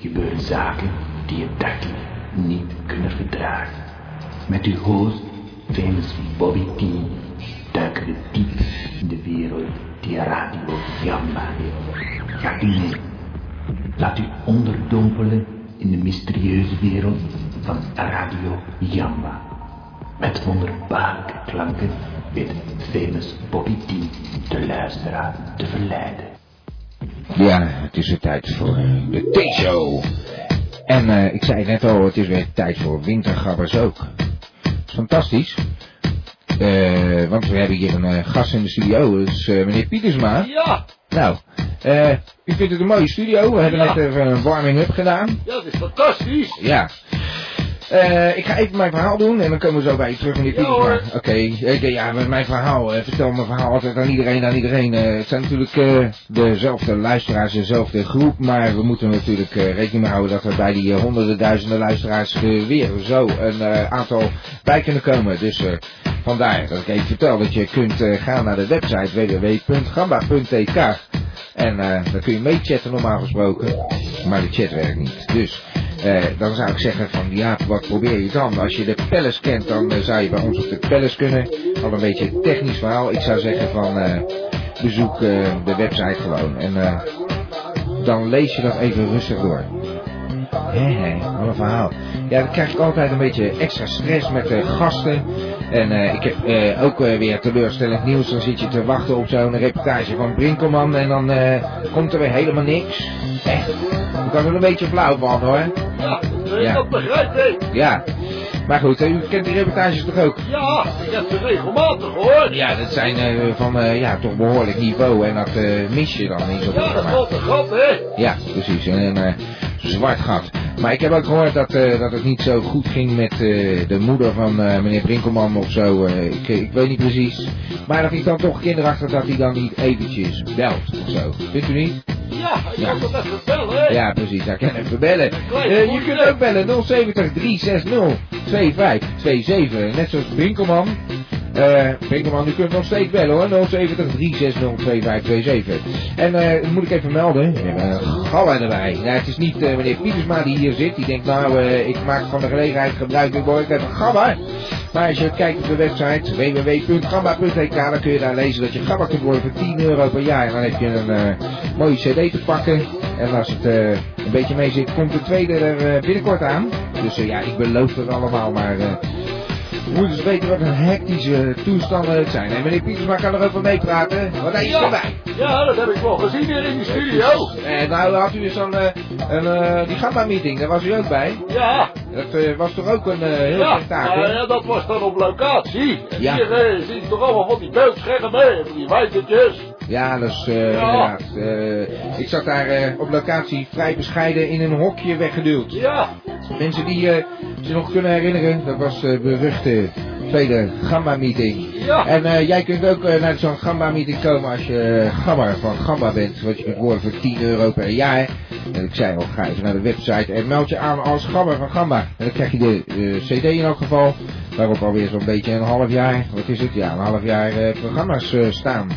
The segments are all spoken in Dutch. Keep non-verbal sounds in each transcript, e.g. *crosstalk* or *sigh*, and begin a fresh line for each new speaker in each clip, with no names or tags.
gebeuren zaken die je dagelijks niet kunnen verdragen. Met uw host, famous Bobby T, duiken we diep in de wereld die Radio Jamba heeft. Gaat u mee. Laat u onderdompelen in de mysterieuze wereld van Radio Jamba. Met wonderbaarlijke klanken weet famous Bobby T de luisteraar te verleiden.
Ja, het is weer tijd voor eh, de T-show. En eh, ik zei net al, het is weer tijd voor wintergabbers ook. Dat is fantastisch. Eh, want we hebben hier een eh, gast in de studio, dat is eh, meneer Pietersma.
Ja,
Nou, eh, u vindt het een mooie studio. We hebben
Ja.
net even een warming-up gedaan.
ja, dat is fantastisch.
Ja. Eh, ik ga even mijn verhaal doen en dan komen we zo bij je terug, meneer
Ja,
Pietersma.
hoor.
Oké, eh, de- ja, met mijn verhaal. eh, vertel mijn verhaal altijd aan iedereen, aan iedereen. Eh, het zijn natuurlijk eh, dezelfde luisteraars, dezelfde groep, maar we moeten natuurlijk eh, rekening mee houden dat er bij die eh, honderden duizenden luisteraars eh, weer zo een eh, aantal bij kunnen komen. Dus eh, vandaar dat ik even vertel dat je kunt eh, gaan naar de website www.gamba.tk. En eh dan kun je meechatten normaal gesproken. Maar de chat werkt niet. Dus eh, dan zou ik zeggen van ja, wat probeer je dan? Als je de Palace kent, dan eh, zou je bij ons op de Palace kunnen. Al een beetje een technisch verhaal. Ik zou zeggen van eh, bezoek eh, de website gewoon. En eh, dan lees je dat even rustig door. Hé, hé, Oh, wat een verhaal. Ja, dan krijg ik altijd een beetje extra stress met de gasten. En eh, ik heb eh, ook eh, weer teleurstellend nieuws. Dan zit je te wachten op zo'n reportage van Brinkelman en dan eh, komt er weer helemaal niks. Echt, ik was wel een beetje flauw van hoor.
Ja, dat
Ja.
ja. begrijp ik.
Ja, maar goed, eh, u kent die reportages toch ook?
Ja, ik heb ze regelmatig hoor.
Ja, dat zijn eh, van eh, ja, toch behoorlijk niveau en dat eh, mis je dan in zo'n
Ja, dat
programma.
valt een gat, hè.
Ja, precies. En een eh, zwart gat. Maar ik heb ook gehoord dat, eh, dat het niet zo goed ging met eh, de moeder van eh, meneer Brinkelman of zo. eh, ik, ik weet niet precies. Maar dat ik dan toch kinderachtig dat hij dan niet eventjes belt of zo. Vindt u niet?
Ja, ik
Ja.
kan het even bellen, hè.
Ja, precies. Daar kan even bellen. Eh, je kunt ook bellen 070 360 2527. Net zoals Brinkelman. Eh Brinkelman, u kunt nog steeds bellen hoor. 070 360 2527. En eh, dat moet ik even melden. We hebben een galla erbij. Nou, het is niet eh, meneer Pietersma die hier zit. Die denkt nou, eh, ik maak van de gelegenheid gebruik. Ik word ik heb een gabba. Maar als je kijkt op de website www.gamba.tk dan kun je daar lezen dat je gabba kunt worden voor 10 euro per jaar. En dan heb je een eh, mooie cd te pakken. En als het eh, een beetje mee zit, komt de tweede er eh, binnenkort aan. Dus eh, ja, ik beloof het allemaal, maar... eh je moet eens weten wat een hectische toestanden het zijn. En meneer Pietersma kan er ook wel meepraten. Wat hij is
Ja.
erbij.
Ja, dat heb ik wel gezien hier in die studio.
En nou dan had u dus een, eh, een eh, die gamma meeting, daar was u ook bij.
Ja,
Dat eh, was toch ook een eh, heel
ja.
spektakel?
Maar, ja, dat was dan op locatie. En
Ja.
hier eh, zie je toch allemaal van die beeldschermen, hè, van die wijtertjes.
Ja, dat is eh,
Ja.
inderdaad. eh, ik zat daar eh, op locatie vrij bescheiden in een hokje weggeduwd.
Ja,
Mensen die eh, zich nog kunnen herinneren, dat was de beruchte tweede Gamma-meeting.
Ja.
En eh, jij kunt ook eh, naar zo'n Gamma-meeting komen als je eh, Gamma van Gamma bent. Want je kunt worden voor 10 euro per jaar. En ik zei al, ga even naar de website en meld je aan als Gamma van Gamma. En dan krijg je de eh, CD in elk geval. Waarop alweer zo'n beetje een half jaar, wat is het? Ja, een half jaar eh, programma's eh, staan.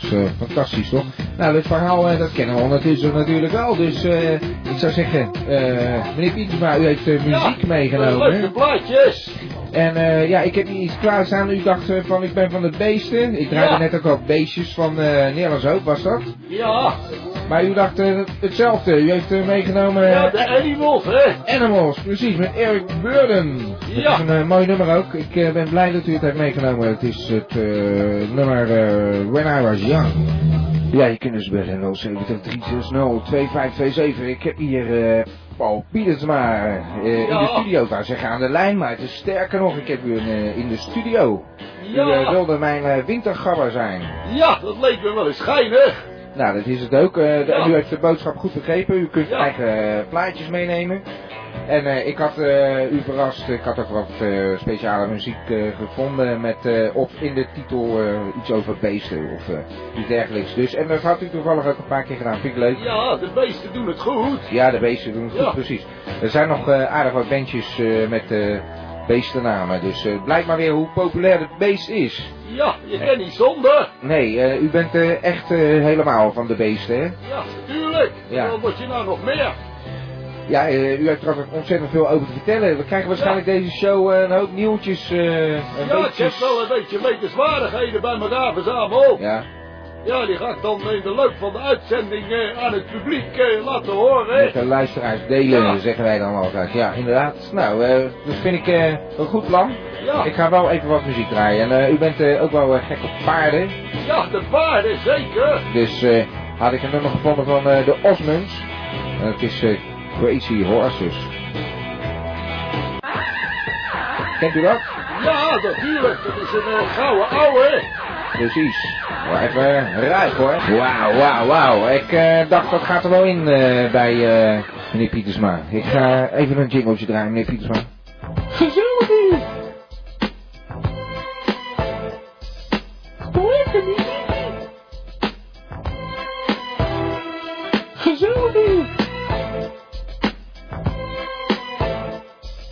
Dus, eh, fantastisch toch? Nou, dit verhaal eh, dat kennen we ondertussen natuurlijk wel. Dus eh, ik zou zeggen, eh, meneer Pietersma, u heeft eh, muziek
ja.
meegenomen.
Leuke plaatjes.
En eh, ja, ik heb hier iets klaarstaan. U dacht eh, van ik ben van de beesten. Ik draaide
Ja.
net ook al beestjes van eh Nederlands Hoop, was dat?
Ja,
Maar u dacht eh, hetzelfde. U heeft eh, meegenomen eh,
ja, de animals, hè.
Animals, precies, met Eric Burden.
Ja.
Dat is een eh, mooi nummer ook. Ik eh, ben blij dat u het heeft meegenomen. Het is het eh, nummer eh, When I Was Young. Ja, je kunt dus bellen 070 360 2527. Ik heb hier eh Paul Pietersma eh, in
Ja.
de studio. Ik wou zeggen aan de lijn, maar het is sterker nog. Ik heb u een, eh, in de studio. U eh,
Ja,
wilde mijn eh, wintergabber zijn.
ja, dat leek me wel eens schijnig.
Nou, dat is het ook. Eh, de-
Ja.
U heeft de boodschap goed begrepen. U kunt
Ja.
eigen eh, plaatjes meenemen. En eh, ik had eh, u verrast. Ik had ook wat eh, speciale muziek eh, gevonden. Met eh, of in de titel eh, iets over beesten of eh, iets dergelijks. Dus, en dat had u toevallig ook een paar keer gedaan. Vind ik leuk.
Ja, de beesten doen het goed.
Ja, de beesten doen het goed,
Ja.
precies. Er zijn nog eh, aardig wat bandjes eh, met eh, beestennamen. Dus eh blijkt maar weer hoe populair het beest is.
Ja, je kan niet zonder.
Nee, eh, u bent eh, echt eh, helemaal van de beesten, hè?
Ja, natuurlijk.
Ja.
Wat moet je nou nog meer?
Ja, eh, u heeft trouwens ook ontzettend veel over te vertellen. We krijgen waarschijnlijk deze show eh, een hoop nieuwtjes. eh een
Ja, ik
beetje-
heb wel een beetje wetenswaardigheden bij elkaar verzameld.
Ja,
Ja, die ga ik dan in de loop van de uitzending eh, aan het publiek eh, laten
met
horen.
de luisteraars delen,
Ja.
zeggen wij dan altijd. Ja, inderdaad. Nou, eh, dat vind ik eh, een goed plan.
Ja.
Ik ga wel even wat muziek draaien. En eh, u bent eh, ook wel eh, gek op paarden.
Ja, de waarde, zeker.
Dus eh, had ik een nummer gevonden van eh, de Osmonds. En het is eh, Crazy
*laughs*
Horses. Kent u dat?
Ja, natuurlijk. Dat is een eh, gouden ouwe.
Precies. Nou, Even ruik hoor. Wauw, wauw, wauw. Ik eh, dacht dat gaat er wel in eh, bij eh, meneer Pietersma. Ik ga even een jingletje draaien, meneer Pietersma.
Gezellig hier. Hoe is het hier? Gezellig hier.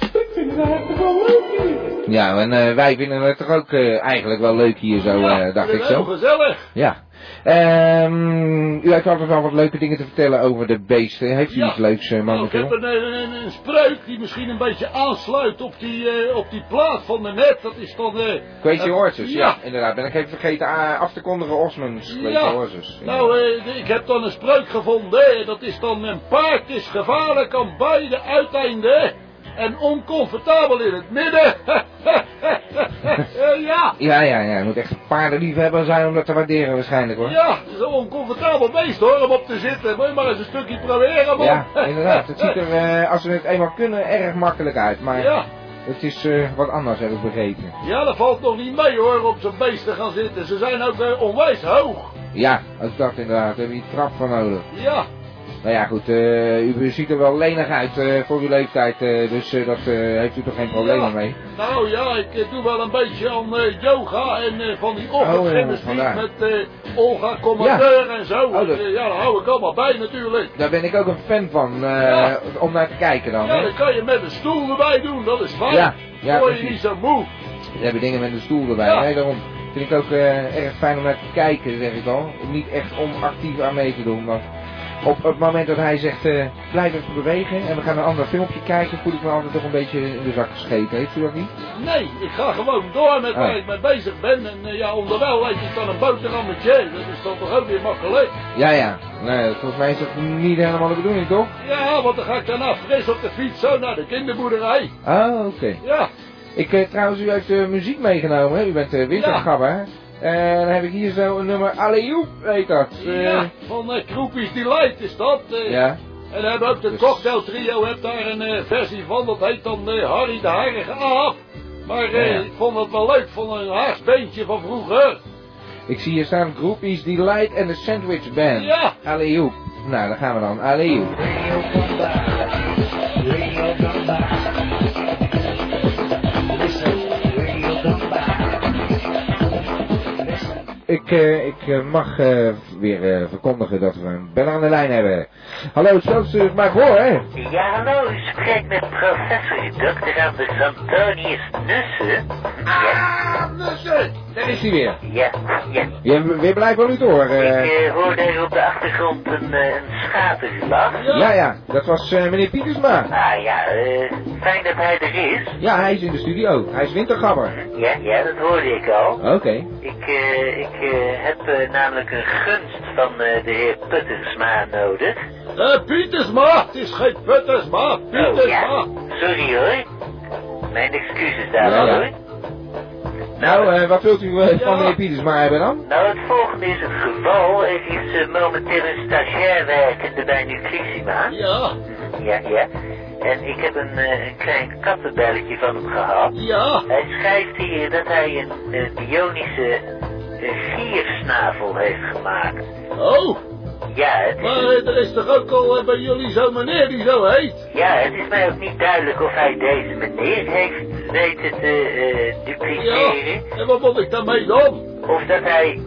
Ik vind het eigenlijk wel leuk hier.
Ja, en eh, wij vinden het toch ook eh, eigenlijk wel leuk hier zo, eh, dacht ik
Heel
zo.
gezellig.
Ja. Ehm, u heeft altijd wel wat leuke dingen te vertellen over de beesten. Heeft u
Ja.
iets leuks eh,
Nou, ik heb
momenteel?
een, eh, een, een spreuk die misschien een beetje aansluit op die, eh, op die plaat van de net. Dat is dan... eh
Crazy
eh,
Horses, ja.
ja.
Inderdaad, ben ik even vergeten ah, af te kondigen Osmonds Crazy
Ja.
Horses.
Nou, eh, ik heb dan een spreuk gevonden. eh, Dat is dan een paard is gevaarlijk aan beide uiteinden. En oncomfortabel in het midden. *laughs* Eh, ja,
Ja, ja, ja. Je moet echt paardenliefhebber zijn om dat te waarderen waarschijnlijk hoor.
ja, het is een oncomfortabel beest hoor om op te zitten. Moet je maar eens een stukje proberen man.
Ja, inderdaad. Het ziet er, eh, als we het eenmaal kunnen, erg makkelijk uit.
*laughs*
Maar
Ja.
het is eh, wat anders, heb ik begrepen.
Ja, dat valt nog niet mee hoor, om zo'n beest te gaan zitten. Ze zijn ook eh, onwijs hoog.
Ja, ook dat inderdaad. Daar heb je die trap van nodig.
Ja,
Nou ja, goed. eh, u ziet er wel lenig uit eh, voor uw leeftijd. eh, dus eh, dat eh, heeft u toch geen problemen
Ja.
mee?
nou ja, ik eh, doe wel een beetje aan eh, yoga en eh, van die
Oh,
ochtendgymnastiek
ja, vandaar.
met eh, Olga Commandeur en zo.
Oh, dat-
Eh, ja, daar hou ik allemaal bij natuurlijk.
Daar ben ik ook een fan van. eh,
Ja.
Om naar te kijken dan.
Ja,
hè?
dat kan je met een stoel erbij doen, dat is fijn.
Oh, Ja, ja,
Word je
precies.
niet zo moe.
We hebben dingen met een stoel erbij.
Ja.
Nee, daarom vind ik ook eh, erg fijn om naar te kijken, zeg ik al. Niet echt om actief aan mee te doen. Want op het moment dat hij zegt, eh, blijf even bewegen en we gaan een ander filmpje kijken, voel ik me altijd toch een beetje in de zak gescheten. Heeft u dat niet?
Nee, ik ga gewoon door met waar
Oh.
ik mee bezig ben. En eh, ja, onderwijl eet ik dan een boterhammetje. Dat is dan toch ook weer makkelijk.
Ja, ja. Nee, volgens mij is dat niet helemaal de bedoeling, toch?
Ja, want dan ga ik daarna fris op de fiets zo naar de kinderboerderij.
Oh, oké.
Ja,
Ik, eh, trouwens, u heeft eh, muziek meegenomen, hè? U bent uh, wintergabber, hè? En dan heb ik hier zo een nummer, Alleyoep, heet dat. Eh,
ja van eh, Kroepies Delight is dat. eh.
ja.
En dan hebben we ook de
Dus-
cocktail trio, hebt daar een eh, versie van, dat heet dan eh, Harry de Harige Aap. Maar eh,
Ja.
ik vond het wel leuk, van een Haags beentje van vroeger.
Ik zie hier staan groepies Delight en de Sandwich Band.
Ja.
Alleehoep. Nou, daar gaan we dan. Alleehoep. Ik, eh, ik eh, mag eh, weer eh, verkondigen dat we een bel aan de lijn hebben. Hallo, Stelstuur, maar voor, hè?
Ja, hallo, u spreekt met professor Dr. Albert Antonius Nussen. Ja,
Daar is hij weer.
ja, ja.
Je weer blijkbaar niet door.
Ik eh, hoorde even op de achtergrond een, eh, een schaterslag.
ja, ja, dat was eh, meneer Pietersma.
Ah ja, eh, fijn dat hij er is.
Ja, hij is in de studio. Hij is wintergabber.
Ja, ja, dat hoorde ik al.
Oké.
Ik, eh, ik eh, heb eh, namelijk een gunst van eh, de heer Puttersma nodig.
Eh, Pietersma, het is geen Pietersma,
Oh ja,
Pietersma.
sorry hoor. Mijn excuses daarvoor
Ja, ja.
hoor.
Nou, eh, wat wilt u eh, van
Ja.
meneer Pietersma hebben dan?
Nou, het volgende is het geval. Er is eh, momenteel een stagiair werkende bij Nutrissima.
Ja,
Ja, ja. En ik heb een, eh, een klein kattenbelletje van hem gehad.
ja,
Hij schrijft hier dat hij een eh, bionische eh, giersnavel heeft gemaakt.
oh,
Ja het,
maar
is,
eh, er is toch ook al eh, bij jullie zo'n meneer die zo heet?
ja, het is mij ook niet duidelijk of hij deze meneer heeft weten te eh,
Ja,
dupliceren.
en wat moet ik daarmee dan?
Of dat hij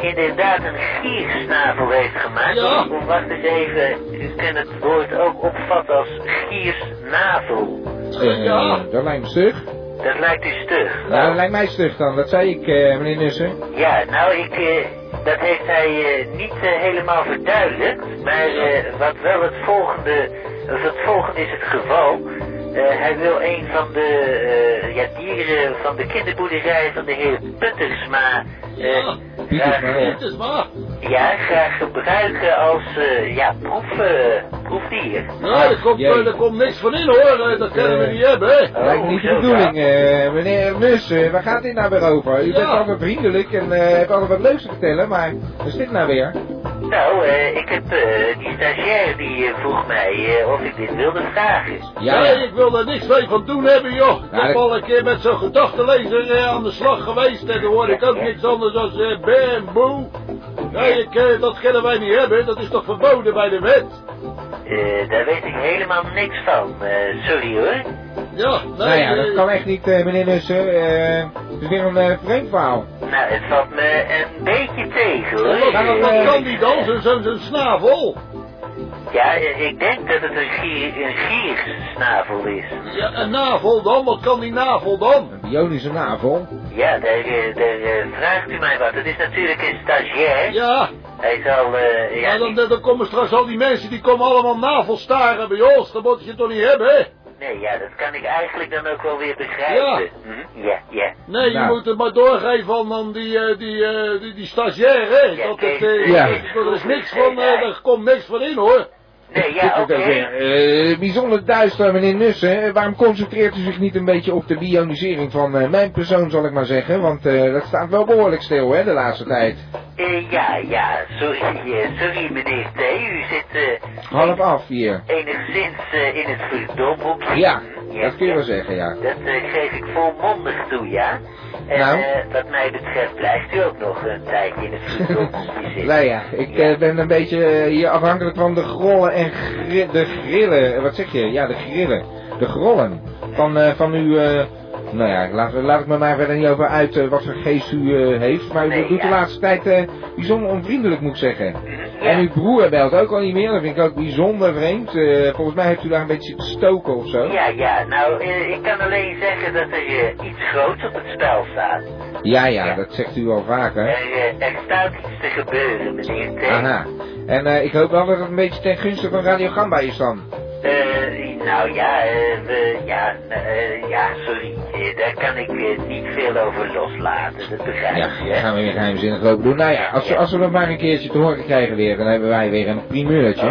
inderdaad een giersnavel heeft gemaakt.
Ja.
Of wacht eens even, u kunt het woord ook opvatten als giersnavel.
Eh,
Ja.
Dat lijkt me stug.
Dat lijkt u stug.
Nou, dat lijkt mij stug dan. Dat zei ik, eh, meneer Nussen.
Ja, nou, ik, eh, dat heeft hij eh, niet eh, helemaal verduidelijkt. Maar eh, wat wel het volgende Dus het volgende is het geval. Eh, hij wil een van de eh, ja, dieren van de kinderboerderij van de heer Puttersma eh,
Ja.
graag, eh,
Het is waar.
ja, graag gebruiken als eh, ja, proef, eh, proefdier.
Nou, er komt,
Jee.
eh, er komt niks van in hoor. Eh, Dat kunnen we
Ah, Eh.
niet hebben. hè.
Oh,
Lijkt niet de
zo,
bedoeling,
ja.
eh, meneer Mus, eh, waar gaat dit nou weer over? U bent
Ja.
altijd vriendelijk en eh hebt altijd wat leuks te vertellen, maar wat is dit nou weer?
Nou, eh, ik heb eh, die stagiair die eh, vroeg mij eh, of ik dit wilde vragen.
Nou
Nee, ik wil daar niks mee van doen hebben, joh. Ik
Ja,
heb
dat-
al een keer met zo'n gedachtenlezer eh, aan de slag geweest en dan hoor ik ook niks anders dan eh bamboe. Nee, ik, eh, dat kunnen wij niet hebben. Dat is toch verboden bij de wet?
Eh, daar weet ik helemaal niks van. Eh, sorry hoor.
Ja, nee.
nou ja, dat
eh,
kan echt niet, eh, meneer Mus. eh, eh, het is weer een eh, vreemd verhaal.
Nou, het valt me een beetje tegen hoor.
Wat,
Waarom,
Eh,
wat
eh,
kan die dan? Zo'n zo, zo'n snavel?
Ja, eh, ik denk dat het een, gier, een giersnavel is.
Ja, een navel dan? Wat kan die navel dan?
Een bionische navel.
Ja, daar, eh, daar eh, vraagt u mij wat. Het is natuurlijk een stagiair.
Ja,
Hij zal... eh ja,
maar dan, dan komen straks al die mensen die komen allemaal navelstaren bij ons. Dat moet je toch niet hebben, hè?
Nee, ja, dat kan ik eigenlijk dan ook wel weer begrijpen.
Ja.
Hm? Ja, ja.
Nee, je
Nou.
moet het maar doorgeven aan, aan die, eh, die, eh, die, die stagiair, hè.
Ja,
dat het,
Kees,
eh,
ja.
Er is niks van, eh, er komt niks van in, hoor.
Nee,
*laughs* Dit
ja,
wordt
oké.
ook weer, eh, bijzonder duister, meneer Nussen. Eh, Waarom concentreert u zich niet een beetje op de bionisering van eh, mijn persoon, zal ik maar zeggen? Want eh, dat staat wel behoorlijk stil, hè, de laatste tijd.
Eh, ja, ja, sorry, eh, sorry meneer T. U zit eh,
Half af hier.
enigszins eh, in het verdomhoekje.
Ja,
Hm,
dat kun je wel zeggen, ja.
Dat eh, geef ik volmondig toe, ja. En
Nou?
eh, wat mij betreft blijft u ook nog een tijdje in het verdomhoekje zitten.
*laughs* Nou ja, ik eh, ben een beetje eh, hier afhankelijk van de grollen en gri- de grillen. Eh, Wat zeg je? Ja, de grillen. De grollen. Van, eh, van uw... eh, nou ja, laat, laat ik me maar verder niet over uit eh, wat voor geest u eh, heeft. Maar u
Nee,
doet de
ja.
laatste tijd eh, bijzonder onvriendelijk, moet ik zeggen.
Hm, ja.
En uw broer belt ook al niet meer. Dat vind ik ook bijzonder vreemd. Eh, volgens mij heeft u daar een beetje zitten stoken of zo.
Ja, ja, nou, eh, ik kan alleen zeggen dat er eh, iets groots op het spel staat.
Ja, ja, dat zegt u al vaker.
Er, eh, er staat iets te gebeuren, meneer T.
Aha. En eh, ik hoop wel dat het een beetje ten gunste van Radio Gamba is dan.
Eh, nou ja, eh, we- ja, eh, ja, sorry. Eh, daar kan ik eh, niet veel over loslaten, dat begrijp
Ja,
je.
dan gaan we weer geheimzinnig lopen doen. Nou ja, als, we- als we dat maar een keertje te horen krijgen weer, dan hebben wij weer een
Oké,
primeurtje.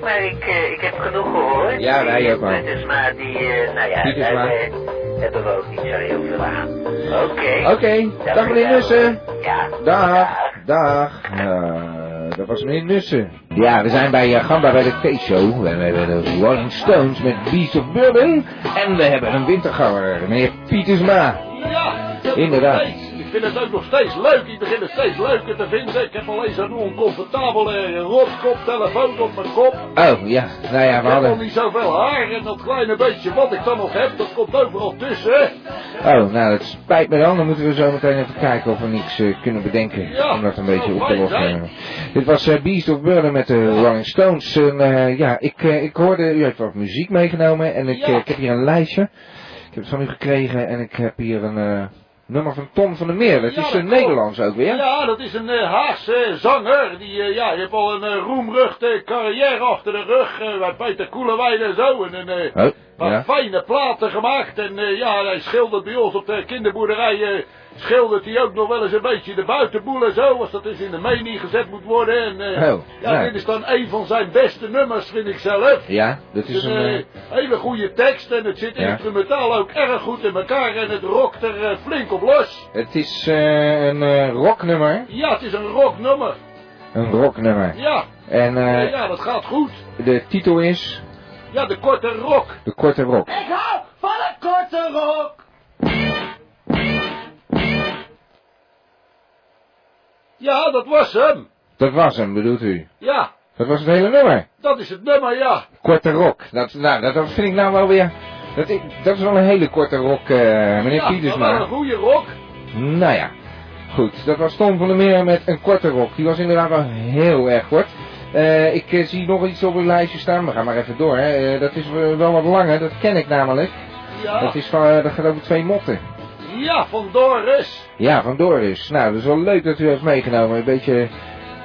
maar ik, eh, ik heb genoeg gehoord.
Ja, wij
Die
ook, man.
Pietersma, die, eh, nou ja,
Pietersma.
daar eh, hebben we ook niet zo heel veel aan. Oké.
Oké, dag meneer Nussen.
Ja.
Dag, dag. Eh, dat was meneer Nussen. Ja, we zijn bij eh, Gamba bij de T-show. We hebben de Rolling Stones met Beast of Burden. En we hebben een wintergouwer, meneer Pietersma.
Ja, dat
Inderdaad.
nog steeds. Ik vind het ook nog steeds leuk. Ik begin het steeds leuker te vinden. Ik heb alleen zo'n oncomfortabele eh, rotkop, telefoon op mijn kop.
Oh, ja. Nou ja,
Ik
we
heb al
hadden...
niet zoveel haar en dat kleine beetje wat ik dan nog heb, dat komt overal tussen. hè.
Oh, nou, dat spijt me dan. Dan moeten we zo meteen even kijken of we niks eh, kunnen bedenken.
Ja,
om dat een beetje
zou
op te
fijn zijn.
lossen. Dit was eh, Beast of Burden met de Rolling Stones. En, eh, ja, ik, eh, ik hoorde, u heeft wat muziek meegenomen. En ik,
Ja.
eh, ik heb hier een lijstje. Ik heb het van u gekregen. En ik heb hier een eh, nummer van Tom van der Meer. Dat
Ja,
is
dat klopt.
eh, Nederlands ook weer.
Ja, dat is een eh, Haagse zanger. Die, eh, ja, die heeft al een eh, roemruchte carrière achter de rug. eh, bij Peter Koelewijn en zo. En, een eh,
Oh,
wat
ja.
fijne platen gemaakt. En eh, ja, hij schildert bij ons op de kinderboerderij. eh, schildert hij ook nog wel eens een beetje de buitenboel en zo. Als dat eens in de mening gezet moet worden. En, eh,
Oh,
ja,
nou.
dit is dan een van zijn beste nummers, vind ik zelf.
Ja, dat
Het
is
is
een...
een
eh,
eh, hele goede tekst en het zit
Ja.
instrumentaal ook erg goed in elkaar en het rokt er eh, flink op los.
het is eh, een eh, rocknummer.
Ja, het is een rocknummer.
Een rocknummer.
Ja,
En
ja,
eh,
ja, dat gaat goed.
de titel is
Ja, de korte rok.
De Korte Rock.
Ik hou van een korte rok.
Ja, dat was hem.
Dat was hem, bedoelt u?
Ja,
Dat was het hele nummer.
dat is het nummer, ja.
Korte rok. Dat, nou, dat, dat vind ik nou wel weer... Dat, ik- dat is wel een hele korte rok, eh, meneer
ja,
Pietersma.
Dat was een goede rok.
Nou ja, goed. Dat was Tom van der Meer met een korte rok. Die was inderdaad wel heel erg kort. Eh, ik eh, zie nog iets op het lijstje staan. We gaan maar even door. Hè. Eh, dat is eh, wel wat langer. Dat ken ik namelijk.
Ja,
Dat, is van, eh, dat gaat over twee motten.
ja van Doris.
Ja, van Doris. Nou, dat is wel leuk dat u heeft meegenomen. Een beetje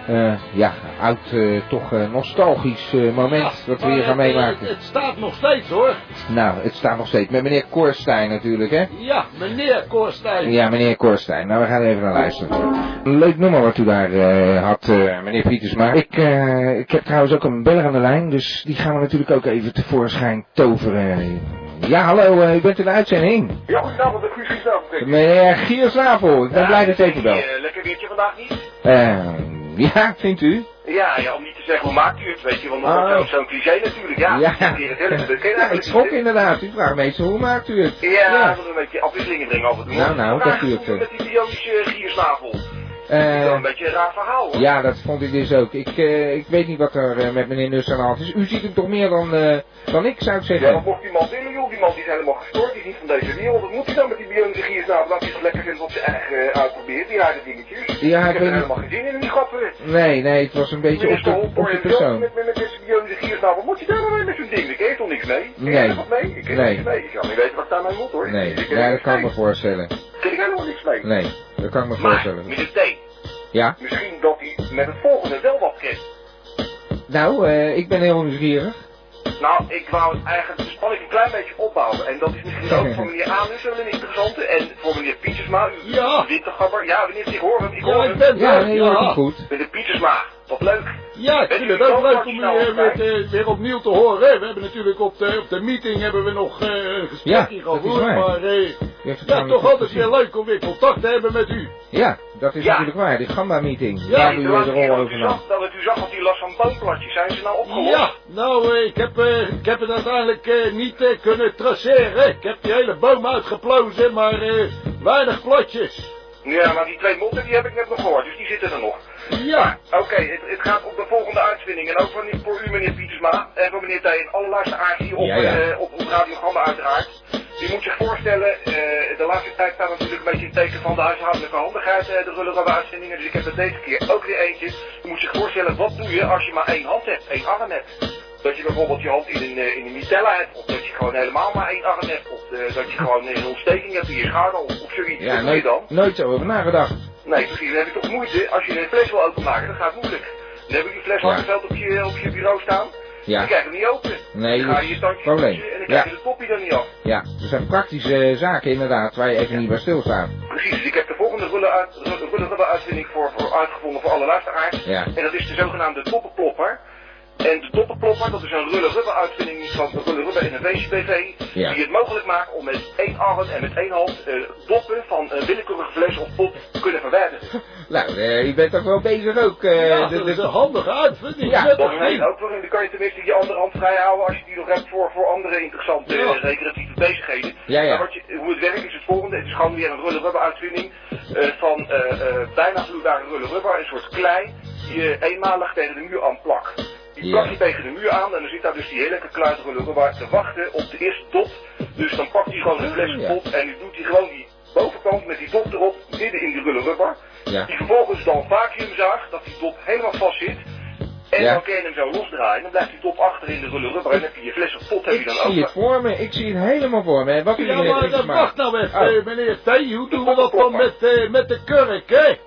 eh, ja, oud, eh, toch eh, nostalgisch eh, moment dat we
Maar
hier gaan
het, eh,
meemaken.
Het, het staat nog steeds hoor.
Nou, het staat nog steeds met meneer Korstijn natuurlijk, hè?
Ja, meneer Korstijn.
Ja, meneer Korstijn. Nou, we gaan er even naar luisteren. Een leuk nummer wat u daar eh, had, eh, meneer Pietersma. Ik, eh, ik heb trouwens ook een beller aan de lijn, dus die gaan we natuurlijk ook even tevoorschijn toveren. Ja, hallo, eh, u bent in de uitzending.
Ja, goedenavond, de Guus Giesdorf, denk ik.
Meneer Giersnavel, ik ben blij dat ik u bel.
Eh, lekker weertje vandaag niet?
Eh, *laughs* ja, vindt u?
Ja, ja, om niet te zeggen, hoe maakt u het, weet je, want dat
Oh.
is ook zo'n cliché natuurlijk, ja. Het is heel leuk, dat ken je
Ja, ik
eigenlijk
schrok
niet, hè?
inderdaad. U vraagt meestal, hoe maakt u het?
Ja, we moeten een beetje afwisselingen brengen over het
Nou, nou,
Wat
dat
eigenlijk
doe ik,
doen we Met die biologische giersnavel.
Eh,
wel een beetje een raar verhaal, hoor.
Ja, dat vond ik dus ook. Ik, eh, ik weet niet wat er eh, met meneer Nuss aan de hand is. U ziet hem toch meer dan, eh, dan ik, zou ik
Ja, maar
zeggen.
mocht die man willen, joh, die man die is helemaal gestoord, die is niet van deze wereld. Wat moet hij dan met die biologische giersnavel? Dat hij het lekker vindt op zijn eigen eh, uitprobeert, die harde dingetjes.
Ja, ik
ik heb er
weet niet.
helemaal geen zin in, in die grappen.
Nee, nee, het was een beetje op
Minister
de, op
Holborn
de
en Johnson
persoon.
Met, met, met deze Guillaume de Giersnavel, moet je daar nou mee met zo'n ding? Ik eet toch niks mee? Ik
Nee.
eet er wat mee? Ik eet er
Nee.
niks mee. Ik kan niet weten wat ik daarmee moet hoor.
Nee,
ik
ja, dat kan ik me
nog.
voorstellen.
Ik eet helemaal niks mee.
Nee, dat kan ik me
Maar,
voorstellen.
meneer T,
Ja?
misschien dat hij met het volgende wel wat kent.
Nou, eh, ik ben heel nieuwsgierig.
Nou, ik wou eigenlijk de spanning een klein beetje opbouwen. En dat is misschien
*laughs*
ook voor meneer Anus wel een interessante. En voor meneer Pietersma, uw
Ja.
witte gabber. Ja, meneer, ik hoor hem, ik
Ja,
hoor
ik
hem.
ben
Ja,
er.
nee, je hoort hem
Ja,
goed.
Meneer Pietersma, wat leuk.
ja, ik vind het ook leuk om u eh, weer, eh, weer opnieuw te horen. hè. We hebben natuurlijk op de, op de meeting hebben we nog eh, een
Ja,
gesprekje
dat is
gevoerd.
waar.
Maar eh,
U heeft het
ja,
namelijk
toch
goed
altijd
gezien.
weer leuk om weer contact te hebben met u.
Ja, dat is
Ja.
natuurlijk waar. Die Gamba-meeting.
Ja,
Daar
de
doe je
laatste
de
keer
rol
dat
over
u
na.
zag- Dat u zag dat u last van boomplatjes. Zijn ze nou opgelost?
Ja, nou, eh, ik heb, eh, ik heb het uiteindelijk eh, niet eh, kunnen traceren. Ik heb die hele boom uitgeplozen, maar eh, weinig platjes.
Ja, maar die twee motten die heb ik net nog gehoord, dus die zitten er nog.
Ja,
Oké, het, het gaat op de volgende uitzending. En ook voor, voor u, meneer Pietersma, en voor meneer Tijn. Alle luisteraars hier op,
Ja, ja.
eh, op, op Radio Gamma uiteraard. Die moet zich voorstellen, eh, de laatste tijd staat natuurlijk een beetje in het teken van de huishoudelijke handigheid, eh, de rullerabbe uitzendingen. Dus ik heb er deze keer ook weer eentje. Je moet zich voorstellen, wat doe je als je maar één hand hebt, één arm hebt? Dat je bijvoorbeeld je hand in een, eh, in een mitella hebt, of dat je gewoon helemaal maar één arm hebt, of eh, dat je gewoon een ontsteking hebt in je schouder, of, of zoiets.
Ja,
Wat doe je
nooit,
dan?
nooit zo over nagedacht.
Nee, precies. Dan heb je toch moeite. Als je een fles wil openmaken, dan gaat het moeilijk. Dan heb je die fles
Ja.
handgeveld op je, op je bureau staan.
Ja.
Je krijgt hem niet open.
Nee,
dan
dat
ga je
is
je
het
tandje
probleem.
poetsen en dan
Ja.
krijg je de poppie er niet af.
Ja, er zijn praktische zaken inderdaad waar je even niet bij stilstaat.
Precies. Dus ik heb de volgende rulle uit- rulle- rulle uitvinding voor, voor uitgevonden voor alle luisteraars.
Ja.
En dat is de zogenaamde doppenplopper. En de doppenplopper, dat is een rulle rubber uitvinding van de Rulle Rubber Innovation BV.
Ja.
Die het mogelijk maakt om met één arm en met één hand eh, doppen van een willekeurige fles of pop te kunnen verwijderen.
Nou, eh, u bent toch wel bezig ook. eh,
ja
de-
dat
de-
is een handige uitvinding.
Ja,
Met
Dat
een
is
ding.
een ook waarin dan kan je tenminste je andere hand vrij houden als je die nog hebt voor, voor andere interessante
Ja.
eh, recreatieve bezigheden.
Ja, ja.
Maar wat je, hoe het werkt is het volgende. Het is gewoon weer een rulle rubber uitvinding eh, van eh, eh, bijna vloeibare rulle rubber, een soort klei die je eenmalig tegen de muur aan plakt. Die
Ja.
plak je tegen de muur aan en dan zit daar dus die hele kluit rulle rubber te wachten op de eerste dop. Dus dan pakt hij gewoon de
Oh, Ja.
flesje op en die doet hij gewoon die bovenkant met die dop erop midden in die rulle rubber.
Ja.
Die vervolgens dan vacuümzaagt, dat die dop helemaal vast zit. En
Ja.
dan kun je hem zo losdraaien, dan blijft die top achter in de rulle rubber en heb je je fles of pot heb je
Ik
dan
zie het
open.
voor me, ik zie het helemaal voor me. En Wat u
Ja,
meneer
maar dat
Pietersma-
wacht nou even,
Oh.
eh, meneer T. Hoe doen we dat dan met, eh, met de kurk, hè?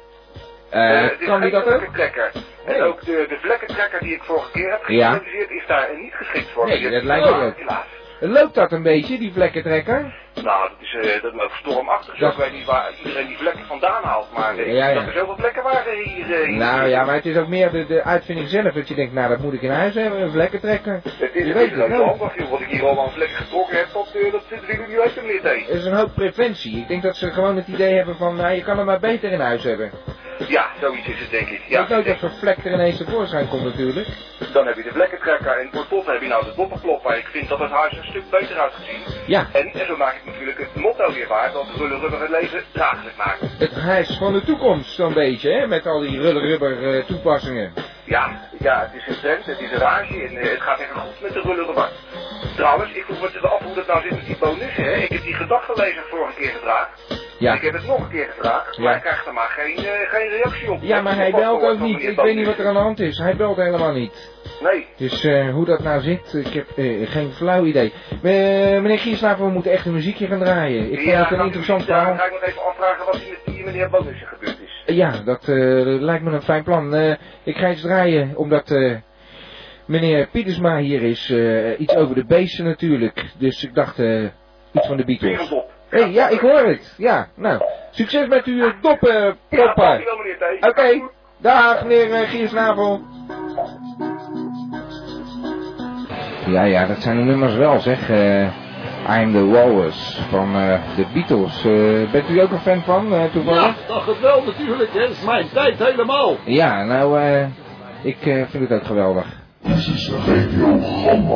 Eh,
Eh, het is
kan die
geen
dat ook?
vlekkentrekker.
Nee.
En ook de, de vlekkentrekker die ik vorige keer heb
Ja.
geïntroduceerd is daar niet geschikt voor.
Nee,
Die
dat
heb je
lijkt me
gedaan,
ook.
Helaas.
Loopt dat een beetje, die vlekkentrekker?
Nou, dat is, eh, dat loopt stormachtig.
Dat-
Ik weet niet waar iedereen die vlekken vandaan haalt, maar eh, ik
Ja, ja.
dacht dat er zoveel vlekken waren hier. eh, hier.
Nou ja, maar het is ook meer de, de uitvinding zelf. Dat je denkt, nou dat moet ik in huis hebben, een vlekkentrekker.
Het
Je
is, het
weet
is ook
wel.
handig, joh, wat ik hier allemaal aan vlekken getrokken heb, dat, eh, dat zit natuurlijk niet uit de meer tegen.
Er is een hoop preventie. Ik denk dat ze gewoon het idee hebben van, nou je kan het maar beter in huis hebben.
Ja, zoiets is het denk ik.
Ja,
Ja,
ik nooit
ik denk-
dat zo'n vlek er ineens tevoorschijn komt natuurlijk.
Dus Dan heb je de vlekkentrekker en voor top heb je nou de doppenklopper. Ik vind dat het huis een stuk beter uitgezien.
Ja.
En, en zo maak ik natuurlijk het motto weer waar dat rulle rubber het leven draaglijk maakt.
Het huis van de toekomst zo'n beetje, hè? Met al die rulle-rubber eh, toepassingen.
Ja, ja, het is een trend, het is een rage en eh, het gaat echt goed met de rulle rubber. Trouwens, ik vroeg me af hoe dat nou zit met die bonussen. Hè? Ik heb die gedachtenlezer vorige keer gevraagd.
Ja.
Ik heb het nog een keer gevraagd,
Ja.
maar ik krijg er maar geen, eh, geen reactie op.
Ja, maar hij
Ik heb
belt
gehoord
ook
van
niet.
meneer
Ik weet niet wat er aan
Bonussen.
de hand is. Hij belt helemaal niet.
Nee,
Dus eh, hoe dat nou zit, ik heb eh, geen flauw idee. Eh, meneer Gierslaven, we moeten echt een muziekje gaan draaien. Ik vind
ja,
het een
nou,
interessant
daarom
verhaal.
ga ik nog even afvragen wat hier met die meneer Bonussen gebeurd is.
Ja, dat eh, lijkt me een fijn plan. Eh, ik ga iets draaien, omdat eh, meneer Pietersma hier is. eh, iets over de beesten natuurlijk. Dus ik dacht eh, iets van de Beatles.
Wereldop.
Hé, hey, ja, ik hoor het. Ja, nou. Succes met uw doppen,
Ja,
proppa.
dankjewel meneer Thijs.
Oké, dag meneer uh, Giersnavel. Ja, ja, dat zijn de nummers wel zeg. Eh, I'm the Walrus van eh, de Beatles. Eh, bent u ook een fan van, eh,
Ja,
toevallig?
dacht het wel natuurlijk, hè. Dat is mijn tijd helemaal.
Ja, nou, eh, ik eh, vind het ook geweldig.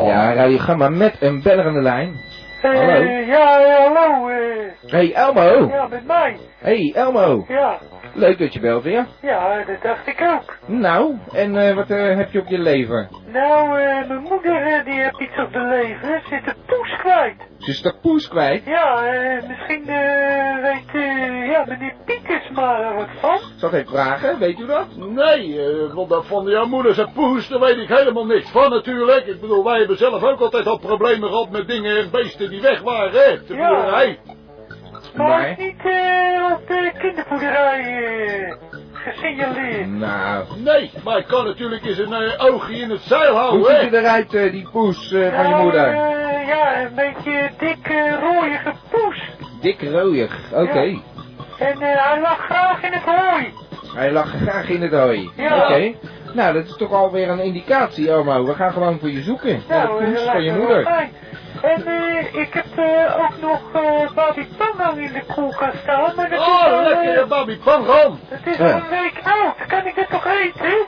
Ja, Radio Gamma met een beller aan de lijn. Hallo.
Eh, ja, hallo. eh,
Hey Elmo.
ja, met mij.
Hey Elmo.
Ja,
Leuk dat je belt weer.
ja, eh, dat dacht ik ook.
Nou, en eh, wat eh, heb je op je leven?
Nou, eh, mijn moeder eh, die heeft iets op de leven. Ze Zit de poes kwijt.
Ze is de poes kwijt.
Ja, eh, misschien eh, weet eh, ja, meneer Pieters maar er wat van.
Zal ik vragen, weet u dat?
Nee, eh, want dat van jouw moeder zijn poes, daar weet ik helemaal niks van natuurlijk. Ik bedoel, wij hebben zelf ook altijd al problemen gehad met dingen en beesten die weg waren, hè. op De
Ja.
boerderij.
Maar hij
Nee.
is niet eh, op de kinderboerderij eh, gesignaleerd.
Nou,
Nee, maar ik kan natuurlijk eens een eh, oogje in het zeil
hoe
houden, hè.
ziet hij eruit, eh, die poes eh, van je moeder?
Oh, Nou, eh, ja, een beetje dik, eh, rooiige poes.
Dik rooiig, oké.
Ja. En eh, hij lag graag in het hooi.
Hij lag graag in het hooi.
Ja.
Oké. Nou, dat is toch alweer een indicatie, Elmo. We gaan gewoon voor je zoeken. Naar de
eh,
poes
dat
van je
lijkt me wel
moeder.
fijn. En eh, ik heb eh, ook nog eh Babi Pangang in de koelkast staan, maar dat is,
Oh,
al, eh,
lekkere babi pangram.
dat is
Ja.
al een week oud. Kan ik dit toch eten?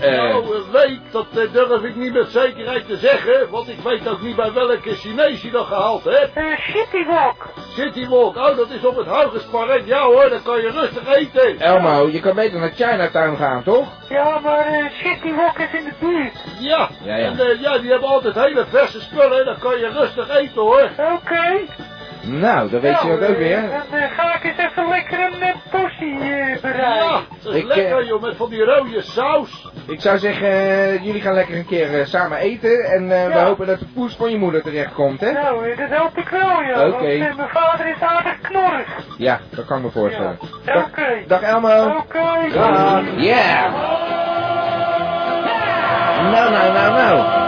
Eh,
Nou, een week, dat eh, durf ik niet met zekerheid te zeggen, want ik weet ook niet bij welke Chinees je dat gehaald hebt.
Eh, Shitty Wok.
City Walk, oh, dat is op het Hougespark. Ja hoor, dan kan je rustig eten.
Elmo, je kan beter naar Chinatown gaan, toch?
Ja, maar eh Shitty Wok is in de buurt.
Ja,
Ja, ja.
en eh, ja, die hebben altijd hele verse spullen, dan kan je rustig eten hoor.
Oké.
Nou, dan weet
Nou,
je dat ook
eh,
weer.
Dan eh, ga ik eens even lekker een eh, portie eh, bereiden.
Ja, dat is
Ik,
lekker
eh,
joh, met van die rode saus.
Ik zou zeggen, eh, jullie gaan lekker een keer eh, samen eten. En eh, we
Ja.
hopen dat de poes van je moeder terechtkomt, hè?
Nou, eh, dat helpt ik wel, ja.
Oké.
Want eh, mijn vader is aardig knorrig.
Ja, dat kan ik me
Ja.
voorstellen.
Oké.
Dag Elmo.
Oké.
Yeah! Nou, nou, nou, nou.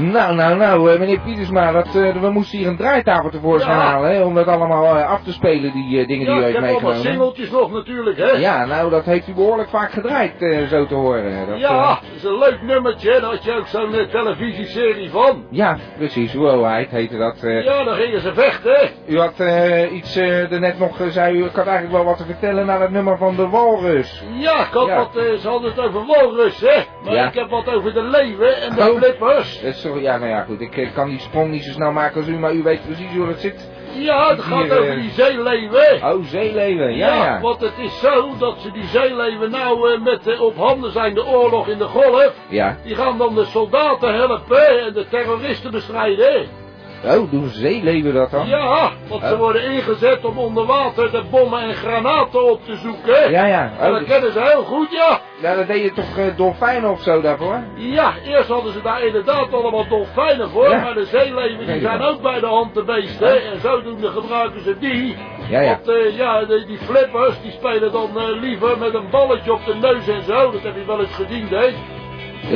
Nou, nou, nou, eh, meneer Pietersma, dat, eh, we moesten hier een draaitafel tevoorschijn
Ja.
halen, hè, om dat allemaal eh, af te spelen, die eh, dingen
Ja,
die u
ik
heeft
heb allemaal
meegenomen.
singeltjes nog natuurlijk, hè.
Ja, nou, dat heeft u behoorlijk vaak gedraaid, eh, zo te horen. Dat,
Ja,
eh,
dat is een leuk nummertje, hè. daar had je ook zo'n eh, televisieserie van.
ja, precies, Wowheid heette dat. eh.
Ja, dan gingen ze vechten, hè.
U had eh, iets eh daarnet nog, eh, zei u, ik had eigenlijk wel wat te vertellen naar het nummer van de Walrus.
Ja, ik had
Ja.
wat, eh, ze hadden het over walrus, hè. Maar
Ja.
ik heb wat over de leeuwen en de
Oh.
flippers.
Eh, Sorry, ja, nou ja, goed. Ik eh, kan die sprong niet zo snel maken als u, maar u weet precies hoe het zit.
Ja, het gaat
Hier, eh,
over die zeeleeuwen.
Oh, zeeleven, ja, ja.
want het is zo dat ze die zeeleeuwen nou eh, met eh, op handen zijn de oorlog in de golf.
Ja.
Die gaan dan de soldaten helpen en de terroristen bestrijden.
Oh, doen zeeleven dat dan?
Ja, want ze
Oh.
worden ingezet om onder water de bommen en granaten op te zoeken.
Ja, ja.
En
Oh,
dat
dus-
kennen ze heel goed, ja.
nou, dat deed je toch eh, dolfijnen of zo daarvoor?
Ja, eerst hadden ze daar inderdaad allemaal dolfijnen voor,
Ja.
maar de zeeleeuwen die
Weet je
zijn
wel.
ook bij de hand de beesten. En zodoende gebruiken ze die.
Ja, ja.
Want eh, ja, die, die flippers die spelen dan eh, liever met een balletje op de neus en zo. Dat heb je wel eens gediend, hè?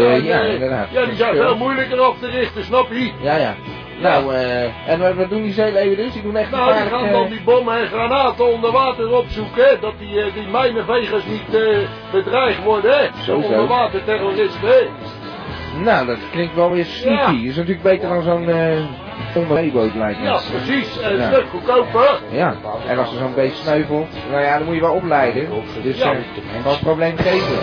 Eh, ja,
En, eh,
inderdaad.
Ja, die zijn veel moeilijker af te richten, snap je?
Ja, ja. Nou, eh, en wat- wat doen die zeeleven dus? Die doen echt
Nou, die
gevaarlijk,
gaan
eh,
dan die bommen en granaten onder water opzoeken, hè, dat die, eh, die mijnenvegers niet eh, bedreigd worden, hè?
Zo, zo.
Onderwaterterroristen, hè?
Nou, dat klinkt wel weer sneaky. Is natuurlijk beter dan zo'n eh onderzeeboot lijkt me.
Ja, precies. Eh, En
Ja.
een stuk goedkoper.
Ja, en als er dus zo'n beest sneuvelt, nou ja, dan moet je wel opleiden. Dus
Ja.
eh, wat probleem geven.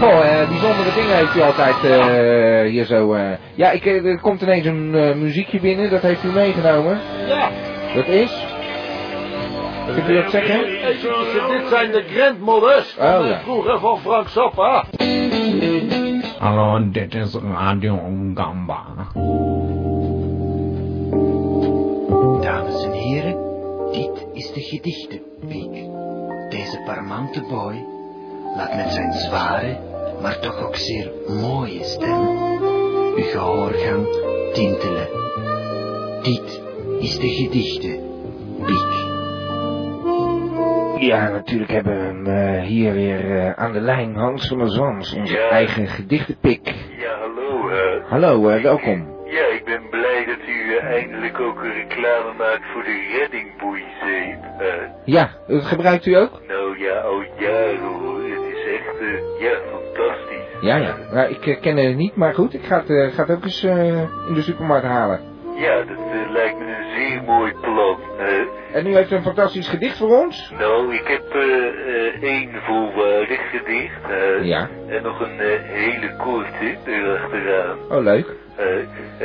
Goh, eh, bijzondere dingen heeft u altijd eh, hier zo. eh. Ja, ik, eh, er komt ineens een eh, muziekje binnen, dat heeft u meegenomen.
Ja.
Dat is. Kunt u dat zeggen?
Eventjes, eh, dit zijn de grandmothers van,
Oh,
eh,
ja.
vroeger van Frank Zappa.
Hallo, dit is Radio Gamba.
Dames en heren, dit is de gedichtenweek. Deze parmante boy laat met zijn zware, maar toch ook zeer mooie stem uw gehoorgang tintelen. Dit is de gedichte Biek.
Ja, natuurlijk hebben we hem eh, hier weer eh, aan de lijn. Hans van der Zwans, onze
Ja.
eigen gedichtenpik.
Ja, hallo. eh.
Hallo, eh, welkom.
ja, ik ben blij dat u eh, eindelijk ook een reclame maakt voor de reddingboeizeep. Eh,
Ja, dat gebruikt u ook?
nou ja, al jaren hoor. Het is echt, eh, ja, fantastisch.
Ja, ja. Nou, ik eh, ken het niet, maar goed, ik ga het, eh, ga het ook eens eh, in de supermarkt halen.
Ja, dat eh, lijkt me een zeer mooi plan. eh.
En nu heeft u een fantastisch gedicht voor ons.
nou, ik heb eh, eh, één volwaardig gedicht. eh,
Ja.
En nog een eh, hele korte erachteraan.
Oh, leuk.
Eh,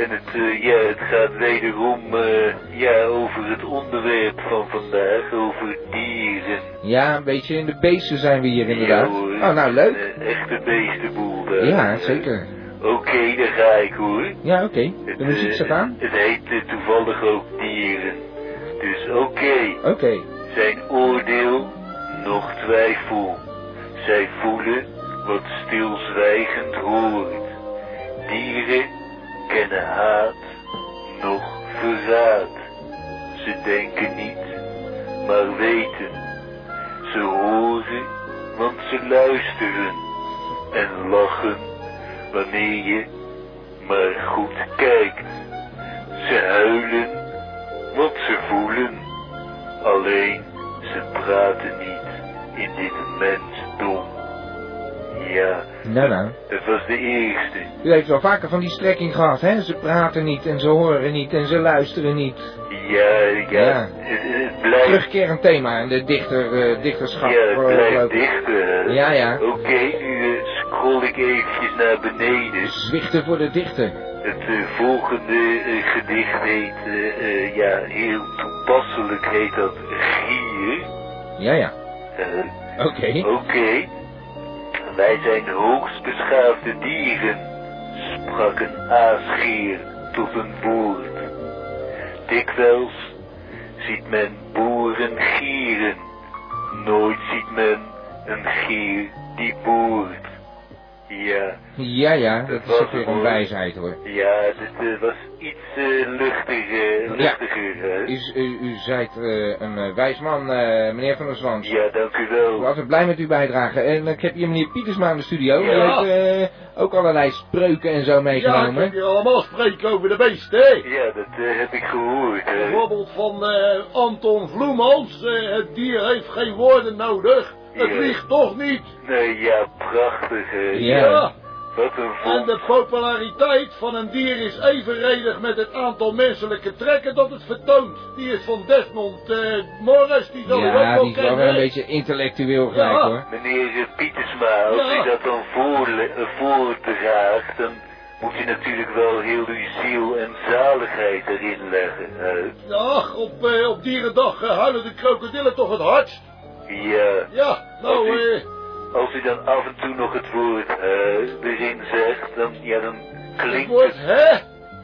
en het, eh, ja, het gaat wederom eh, ja, over het onderwerp van vandaag, over dieren.
Ja, een beetje in de beesten zijn we hier inderdaad.
Ja, hoor. Eh,
Oh, nou, leuk.
Een, eh, echte beestenboel daar.
Ja, zeker.
Oké, daar ga ik hoor.
Ja, oké. De
Het,
muziek
eh,
staat aan.
Het heet eh, toevallig ook dieren. Dus oké,
Oké.
zijn oordeel, nog twijfel. Zij voelen wat stilzwijgend hoort. Dieren kennen haat, nog verraad. Ze denken niet, maar weten. Ze horen, want ze luisteren. En lachen, wanneer je maar goed kijkt. Ze huilen, want ze voelen. Alleen, ze praten niet in dit mensdom. Ja,
Nou, nou.
dat was de eerste.
U heeft wel vaker van die strekking gehad, hè? Ze praten niet en ze horen niet en ze luisteren niet.
Ja, ja,
Ja.
Het, het blijft,
Terugkerend thema in de dichter, eh, dichterschap.
ja, het
eh,
blijft
geloof ik.
dichter.
Ja, ja.
Oké, nu eh, scroll ik eventjes naar beneden.
Zwichten voor de dichter.
Het eh, volgende eh, gedicht heet, eh, eh, ja, heel toepasselijk heet dat Gier.
Ja, ja.
Eh,
Oké.
Oké. Wij zijn hoogst beschaafde dieren, sprak een aasgier tot een woord. Dikwijls ziet men boeren gieren, nooit ziet men een gier die boert. Ja,
Ja, ja.
Dat
Dat is ook
was
weer
mooi.
een wijsheid, hoor.
ja, dit eh, was iets eh, luchtiger,
Ja.
luchtiger. hè?
U, u, u zijt eh, een eh, wijs man, eh, meneer Van der Zwans.
Ja, dank u
Ik
wel.
ben altijd blij met uw bijdrage. En eh, ik heb hier meneer Pietersma in de studio. Die
Ja.
heeft eh, ook allerlei spreuken en zo
Ja, ik
meegenomen.
heb hier allemaal spreken over de beesten, hè.
Ja, dat eh, heb ik gehoord. hè.
Bijvoorbeeld van eh, Anton Vloemans. eh, het dier heeft geen woorden nodig. Het
Ja.
vliegt toch niet.
Nee, ja, prachtig. hè.
Ja.
Wat een
En
vond.
de populariteit van een dier is evenredig met het aantal menselijke trekken dat het vertoont. Die is van Desmond eh, Morris, die zal u
ja,
ook
die
wel
is wel weer een
kennen.
beetje intellectueel gelijk
Ja.
hoor.
Meneer eh, Pietersma, als
Ja.
u dat dan voorle- eh, voordraagt, dan moet u natuurlijk wel heel uw ziel en zaligheid erin leggen. hè.
Ja, op, eh, op dierendag eh, huilen de krokodillen toch het hardst.
ja,
Ja, nou,
Oké.
eh,
als u dan af en toe nog het woord eh, erin zegt, dan, ja, dan
het
klinkt
wordt,
het,
hè?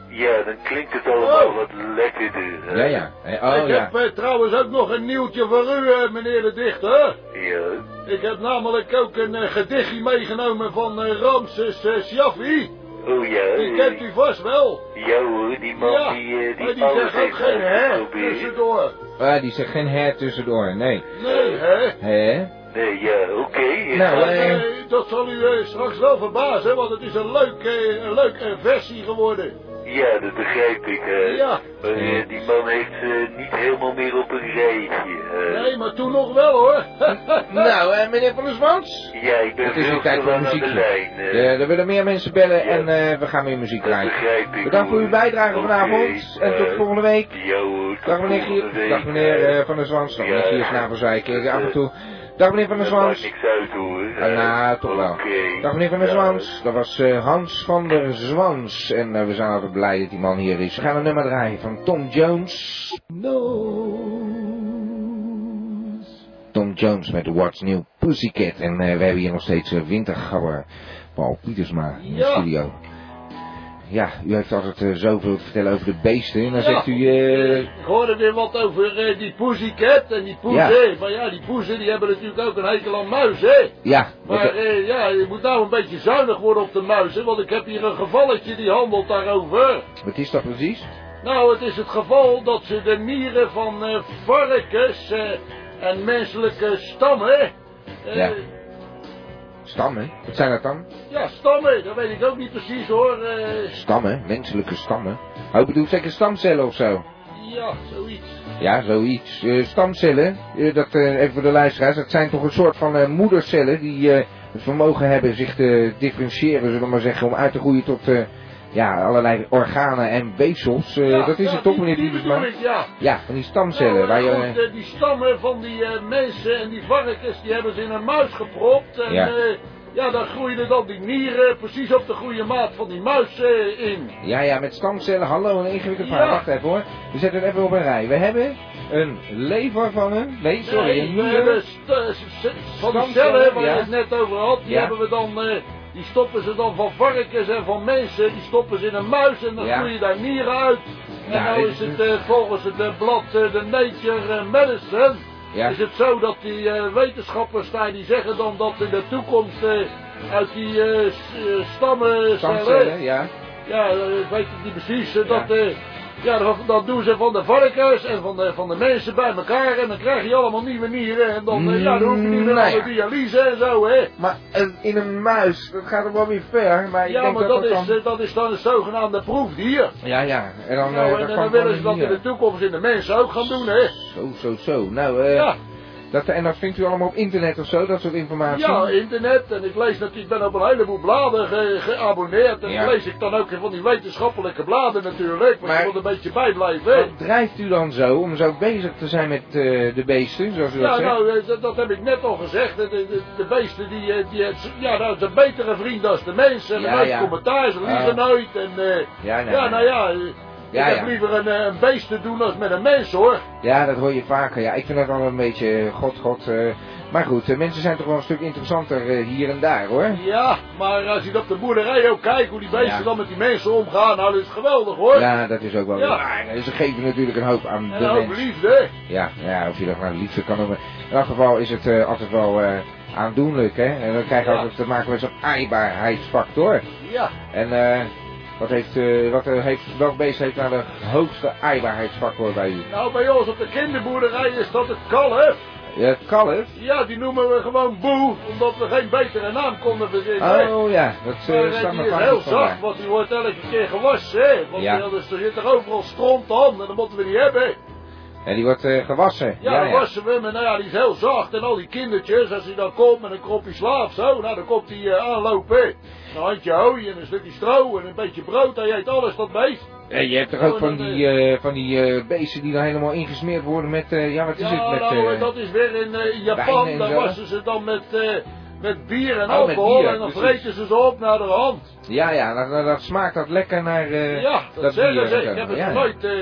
ja, dan klinkt het allemaal
Oh.
wat lekkerder. hè.
Ja, ja. Eh,
ik
Oh ja.
heb eh, trouwens ook nog een nieuwtje voor u, eh, meneer de dichter.
Ja,
Ik heb namelijk ook een eh, gedichtje meegenomen van eh, Ramses eh, Shaffi.
oh ja.
Die
eh,
kent u vast wel.
Ja hoor, die man
Ja,
die, eh, die,
maar die
alles
zegt ook
heeft
geen hè
geprobeerd.
tussendoor.
Ah, die zegt geen her tussendoor, nee.
Nee, hè?
Hè?
Nee, ja, oké. eh,
Nou,
En,
eh,
eh, dat zal u eh, straks wel verbazen, want het is een leuke een leuk, eh, versie geworden.
Ja, dat begrijp ik. eh.
Ja.
Maar eh, die man heeft eh, niet helemaal meer op een rijtje. eh.
Nee, maar toen nog wel hoor. *laughs*
Nou, eh, meneer Van der Zwans?
Ja, ik ben
Het is
veel
weer
te
tijd voor
lang aan de
muziekje.
lijn. eh.
Eh, er willen meer mensen bellen
Ja.
en eh, we gaan weer muziek
dat
draaien.
begrijp ik.
Bedankt voor
hoor.
uw bijdrage
Oké,
vanavond en tot
eh,
volgende week.
Ja hoor, tot
Dag meneer,
volgende
Gier,
week,
dag meneer
eh.
eh, Van der Zwans. Dag
Ja.
meneer Giersnavelzeik. eh, Af en toe. Dag meneer Van der
dat maakt
Zwans.
niks uit hoor. eh.
Ah, nou, toch wel.
Oké.
Dag meneer Van der
Ja.
Zwans. Dat was eh, Hans van der Zwans. En eh, we zijn altijd blij dat die man hier is. We gaan een nummer draaien van Tom Jones. Tom Jones met What's New Pussycat. En eh, we hebben hier nog steeds eh, wintergabber Paul Pietersma in de
Ja.
studio. Ja, u heeft altijd eh, zoveel te vertellen over de beesten. En dan
Ja.
zegt u... eh,
Ik hoorde weer wat over eh, die pussycat en die poezen. Maar ja, die poezen die hebben natuurlijk ook een hekel aan muizen. hè.
ja,
Maar eh, ja, je moet nou een beetje zuinig worden op de muizen, want ik heb hier een gevalletje die handelt daarover.
wat is dat precies?
Nou, het is het geval dat ze de nieren van eh, varkens eh, en menselijke stammen... eh,
Ja. Stammen? Wat zijn dat dan?
ja, stammen, dat weet ik ook niet precies hoor. eh,
Stammen? Menselijke stammen? Oh, ik bedoel zeker stamcellen of zo?
ja, zoiets.
Ja, zoiets. Eh, stamcellen, eh, dat, eh, even voor de luisteraars, dat zijn toch een soort van eh, moedercellen die eh, het vermogen hebben zich te differentiëren, zullen we maar zeggen, om uit te groeien tot eh, ja, allerlei organen en weefsels. Eh,
Ja,
dat is
ja,
het toch, meneer
die, die
Diebesman?
bedoel ik, ja.
Ja, van die stamcellen.
Nou, eh,
waar je,
goed, eh, die stammen van die eh, mensen en die varkens, die hebben ze in een muis gepropt. En
Ja.
ja, ja dan groeiden dan die nieren precies op de goede maat van die muis eh, in.
Ja, ja, met stamcellen. Hallo, een ingewikkeld
Ja.
verhaal. Wacht even hoor. We zetten het even op een rij. We hebben een lever van een... Nee, sorry,
Nee,
een
we
nier.
hebben st- eh, s- s- van die
Stamcellen,
cellen waar
ja.
je het net over had, die
Ja.
hebben we dan, eh, die stoppen ze dan van varkens en van mensen, die stoppen ze in een muis en dan
Ja.
groeien daar nieren uit.
Ja,
en nou
dit
is
is
het eh, volgens het eh, blad eh, The Nature eh, Medicine,
Ja.
is het zo dat die eh, wetenschappers daar, die zeggen dan dat in de toekomst eh, uit die eh, s- eh, stammen, cellen,
Stamcellen, ja.
ja, eh, ik weet het niet precies. eh, Dat, eh, ja, dat, dat doen ze van de varkens en van de, van de mensen bij elkaar. En dan krijg je allemaal nieuwe nieren. En dan, eh, ja, dan hoef je niet meer
Mm,
naar
nou
de dialyse en zo, hè.
Maar een- in een muis, dat gaat er wel weer ver. Maar ik
Ja,
denk
maar
dat
dat,
dat
is,
dan...
eh, dat is dan het zogenaamde proefdier.
Ja, ja. En dan,
Nou, en,
eh, dan
en
kwam
dan
gewoon
willen ze
een
dat in
nier.
de toekomst in de mensen ook gaan doen, hè.
Zo, zo, zo. Nou, eh...
Ja.
Dat, en dat vindt u allemaal op internet of zo, dat soort informatie?
Ja, internet. En ik lees natuurlijk, ik ben op een heleboel bladen ge- geabonneerd. En
Ja.
dan lees ik dan ook van die wetenschappelijke bladen natuurlijk. Want
Maar-
je moet een beetje bijblijven, hè.
Wat drijft u dan zo om zo bezig te zijn met eh, de beesten, zoals u dat
Ja,
zegt?
nou, eh, dat, dat heb ik net al gezegd. De, de, de- de beesten, die, eh, die, het- ja, nou, de betere vriend als de mensen. En
Ja,
de meeste
ja.
commentaar, ze liegen
Ah.
nooit. En, eh,
Ja, nee,
ja,
nee.
nou ja, eh,
Ja,
ik
ja.
heb liever een, eh, een beest te doen als met een mens, hoor.
Ja, dat hoor je vaker. Ja, ik vind dat wel een beetje eh, god, god. eh, maar goed, eh, mensen zijn toch wel een stuk interessanter eh, hier en daar, hoor.
Ja, maar als je op de boerderij ook kijkt hoe die beesten
Ja.
dan met die mensen omgaan, nou, dat is geweldig, hoor.
Ja, dat is ook wel
Ja.
waar. Eh, Ze geven natuurlijk een hoop aan
En
de
ook
mens.
liefde.
Ja, ja, of je dat nou liefde kan noemen. In elk geval is het eh, altijd wel eh, aandoenlijk, hè. En dan krijg je
Ja.
altijd te maken met zo'n aaibaarheidsfactor.
Ja,
En eh, wat heeft, eh, wat eh, heeft, welk beest heeft nou de hoogste aaibaarheidsfactor bij u?
nou, bij ons op de kinderboerderij is dat het kalf.
Ja, het kalf?
Ja, die noemen we gewoon boe, omdat we geen betere naam konden verzinnen.
Oh ja, dat eh,
Maar, eh,
staat
die
me
is
vaak
heel
op vandaar.
zacht, want die wordt elke keer gewassen, hè. Want
Ja.
ja. er zit er overal stront aan, en dat moeten we niet hebben.
En die wordt eh, gewassen.
Ja, dan wassen we hem, en nou ja, die is heel zacht. En al die kindertjes, als hij dan komt met een kopje slaaf, zo, nou, dan komt hij eh, aanlopen. Een handje hooi en een stukje stro en een beetje brood, hij eet alles, dat beest.
En je hebt toch ook
Oh,
van
dat,
die, eh, van die eh, beesten die dan helemaal ingesmeerd worden met, eh, ja wat is
Ja,
het, met,
nou,
eh,
dat is weer in eh,
wijn en
Japan, daar
zo.
wassen ze dan met, eh, met bier en
Oh, met
alcohol,
bier,
en dan
precies.
vreten ze ze op naar de hand.
ja, ja, dat, dat- dat smaakt dat lekker naar eh,
ja, dat, zeggen
bier
ze,
en zo.
ik heb het
Ja, ja.
nooit eh,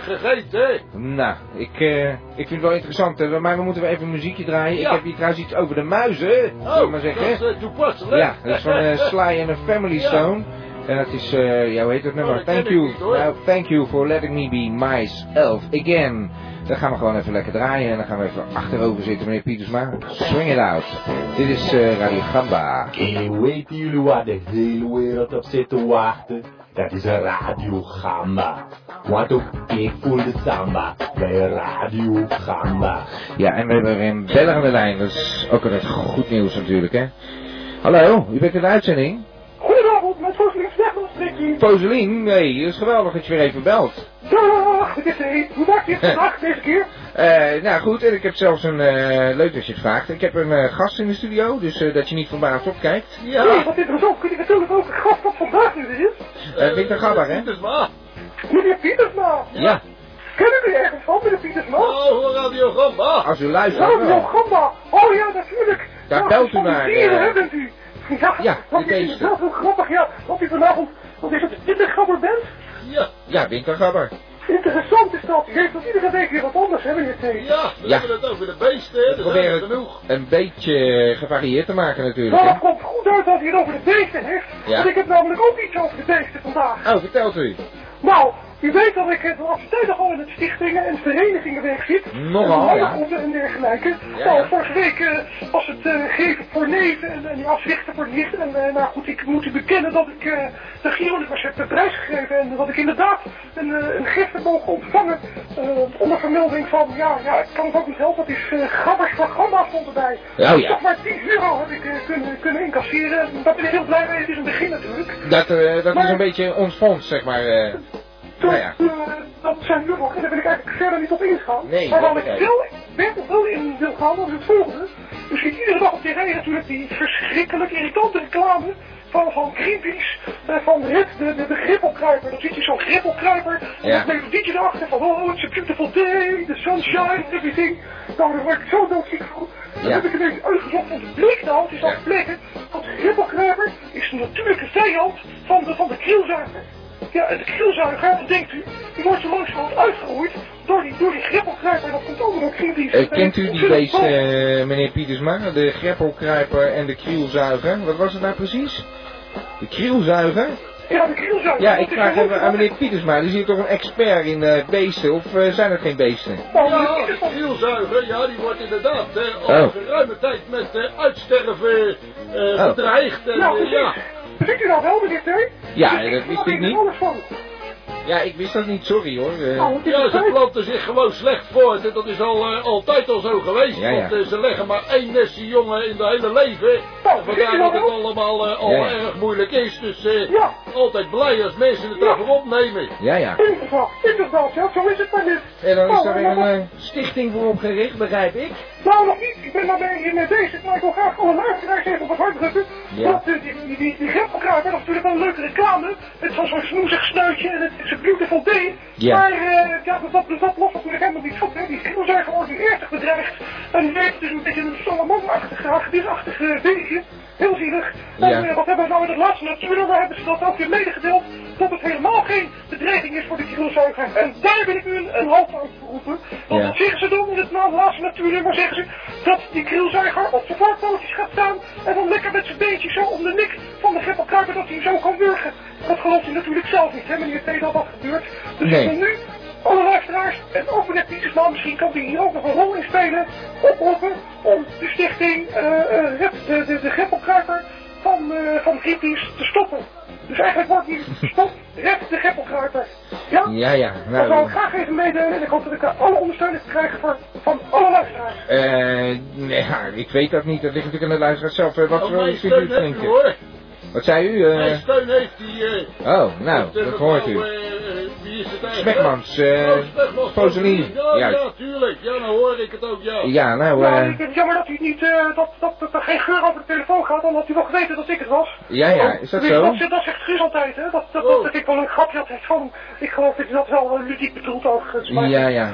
gegeten, hè.
Nou, ik, eh, ik vind het wel interessant, hè, maar we moeten wel even een muziekje draaien.
Ja.
Ik heb hier trouwens iets over de muizen, zullen we
Oh,
maar
dat
zeggen.
is eh, toepasselijk.
Ja, dat is van
*laughs*
eh, Sly and the
Ja.
Family
Oh,
Stone. En dat is, eh ja, hoe heet dat nummer?
dat ken
thank
ik
you.
niet, hoor.
nou, thank you for letting me be myself again. Dan gaan we gewoon even lekker draaien en dan gaan we even achterover zitten, meneer Pietersma. Swing it out. Dit is eh Radio Gamba.
En weten jullie waar de hele wereld op zit te wachten? Dat is Radio Gamba. Wat ook ik voel de samba bij Radio Gamba.
Ja, en we hebben weer een beller aan de lijn. Dat is ook altijd goed nieuws natuurlijk, hè. Hallo, u bent in de uitzending?
Goedenavond, met Foslin Slechtman spreek je.
Poseline, nee, het is geweldig dat je weer even belt.
Dag, dit is Eet. Hoe maakt dit vandaag deze keer?
Eh, nou goed, en ik heb zelfs een, eh, leuk dat je het vraagt, ik heb een eh, gast in de studio, dus eh, dat je niet verbaasd opkijkt.
Nee, wat interessant. Kun je natuurlijk ook een gast dat vandaag nu is?
Eh, Victor Gabber, hè?
Pietersma.
Meneer Pietersma.
Ja.
Kennen jullie ergens van, meneer Pietersma?
Oh, Radio Gamba.
Als u luistert
Radio
wel.
Gamba. Oh ja, natuurlijk.
Daar
Ja,
belt u
van die
naar,
dieren,
eh,
hè, bent u? Ja,
Ja,
dat
de
is inderdaad heel grappig, ja. Dat u vanavond, wat is het, Wintergabber bent?
Ja,
Ja, Wintergabber.
Interessant is dat. U heeft dat iedere week weer wat anders, hè, meneer T.
ja, we
Ja.
hebben het over de beesten, hè. Dat
Probeer
is
het
genoeg.
een beetje gevarieerd te maken natuurlijk.
Nou,
Hè?
dat komt goed uit dat u het over de beesten heeft.
Ja.
Want ik heb namelijk ook iets over de beesten vandaag.
Oh, vertelt u.
Nou, U weet dat ik het al tijdig al in het stichtingen- en verenigingenwerk zit.
Nogal,
En
ja.
maandagonden en dergelijke.
Ja,
Nou,
ja.
vorige week eh, was het eh, geven voor neven en, en die afzichten voor nicht. En eh, nou goed, ik moet u bekennen dat ik eh de Gironicus heb de prijs gegeven. En dat ik inderdaad een, eh, een gift heb mogen ontvangen. eh, onder vermelding van, ja, ja, ik kan het ook niet helpen. Dat is eh, grabbers van Gamma stond erbij.
Ja,
Dus
Oh, ja.
Toch maar 10 euro heb ik eh, kunnen, kunnen incasseren. Daar ben ik heel blij mee. Het is een begin natuurlijk.
Dat, eh, dat is een beetje ons fonds, zeg maar. eh. nou ja.
Eh, dat zijn nu nog, en daar wil ik eigenlijk verder niet op ingaan.
Nee,
maar waar
dat
ik
begrijp
wel, werkelijk wel in wil gaan, dat is het volgende. U ziet iedere dag op tv natuurlijk die verschrikkelijk irritante reclame van, van Greenpeace, eh, van Red, de, de, de grippelkruiper. Dan ziet je zo'n grippelkruiper, en
Ja.
dat melodietje erachter van, oh, it's a beautiful day, the sunshine, everything. Nou, daar word ik zo doodziek van. Dan
Ja.
heb ik ineens uitgezocht van de blik nou, het is al plekken, want grippelkruiper is de natuurlijke vijand van de, van de krielzuiger. Ja, en de krielzuiger, wat denkt u? Die wordt zo langzamerhand uitgeroeid door die, door die grippelkruiper. Dat komt ook nog kritisch.
Eh, kent u die beesten, eh, meneer Pietersma? De greppelkruiper en de krielzuiger. Wat was het nou precies? De krielzuiger?
Ja, de krielzuiger.
Ja,
dat
ik
is
vraag
een
even aan meneer Pietersma. Er is hier toch een expert in eh, beesten? Of eh, zijn er geen beesten?
Nou,
Ja, de krielzuiger, ja, die wordt inderdaad eh, al
Oh.
geruime tijd met eh, uitsterven eh,
Oh.
bedreigd. En,
Nou,
eh, ja.
Ziet u nou wel, meneer T?
Ja, eh, dat wist ik niet. Eh.
Alles van. Nou,
Ja, ik wist dat niet, sorry hoor. Eh,
Ja, ze planten zich gewoon slecht voort. En dat is al eh, altijd al zo geweest.
Ja, Nou, ja.
Want eh, ze leggen maar één nestje jongen in de hele leven. En vandaar dat het allemaal eh, al
Ja, ja.
erg moeilijk is. Dus eh, altijd blij als mensen het daarvoor opnemen.
ja, ja.
Inderdaad, inderdaad, ja, zo is het maar niet.
En dan is
Nou,
er weer
maar
een
nog-
eh, stichting voor opgericht, begrijp ik.
Nou, nog niet. Ik ben maar bij- hier met deze. Maar ik wil graag alle luisteraars even op het hart drukken.
Ja.
Dat eh, die, die, die, die grippelkruiper, dat is natuurlijk wel een leuke reclame. Het is wel zo'n snoezig snuitje en het is een beautiful day.
Ja.
Maar eh, ja, dat, dat, dat lost natuurlijk helemaal niet op. Hè. Die grielzuiger wordt nu ernstig bedreigd. En die heeft dus een beetje een salamanderachtig, achterachtig eh beestje. Heel zielig. En
Ja.
eh, wat hebben we nou in het laatste natuurnummer? Hebben ze dat ook weer medegedeeld? Dat het helemaal geen bedreiging is voor de grielzuiger. En daar wil ik u een, een halt aan roepen. Want
Eh. Ja.
wat zeggen ze dan in het na- laatste natuurnummer? Zeggen ze dat die krielzuiger op zijn voorpootjes gaat staan en dan lekker met zijn beentje zo om de nek van de grippelkruiper dat hij hem zo kan wurgen. Dat gelooft hij natuurlijk zelf niet, hè meneer T, dat dat gebeurt. Dus
Nee.
ik wil nu alle luisteraars en ook meneer Pietersma, misschien kan hij hier ook nog een rol in spelen, oproepen om de stichting eh eh, Rep- de, de, de grippelkruiper van, eh van Greenpeace te stoppen. Dus eigenlijk wordt hier stop, red de grippelkruiper. Ja?
Ja, ja.
Dat wou
Nou,
ik graag even meedelen en ik hoop dat ik eh, alle ondersteuning krijg voor, van alle luisteraars.
eh, nee, ja, ik weet dat niet. Dat ligt natuurlijk aan de luisteraar zelf. Eh, wat
Oh,
voor
mijn
iets vindt u
steun
het
heeft u
drinken?
hoor.
Wat zei u? eh?
Mijn steun heeft die... eh,
oh, nou,
de
dat hoort
mevrouw,
u.
eh, eh, wie is het eigenlijk?
Smekmans, eh,
Oh, Smekmans,
Poseline.
Ja, ja,
Juist.
tuurlijk. Ja, nou hoor ik het ook, ja.
Ja, nou,
Nou,
eh
ik vind het jammer dat u niet, eh, dat, dat, dat er geen geur over de telefoon gaat, omdat u wel geweten dat ik het was.
ja, ja, is dat
Tenminste,
zo?
Oh,
Oh.
Dat, zegt- dat zegt Guus altijd, hè? Dat, dat, dat, dat ik wel een grapje had van. Ik geloof dat u dat wel eh, ludiek bedoelt overigens. Maar
Ja, ja.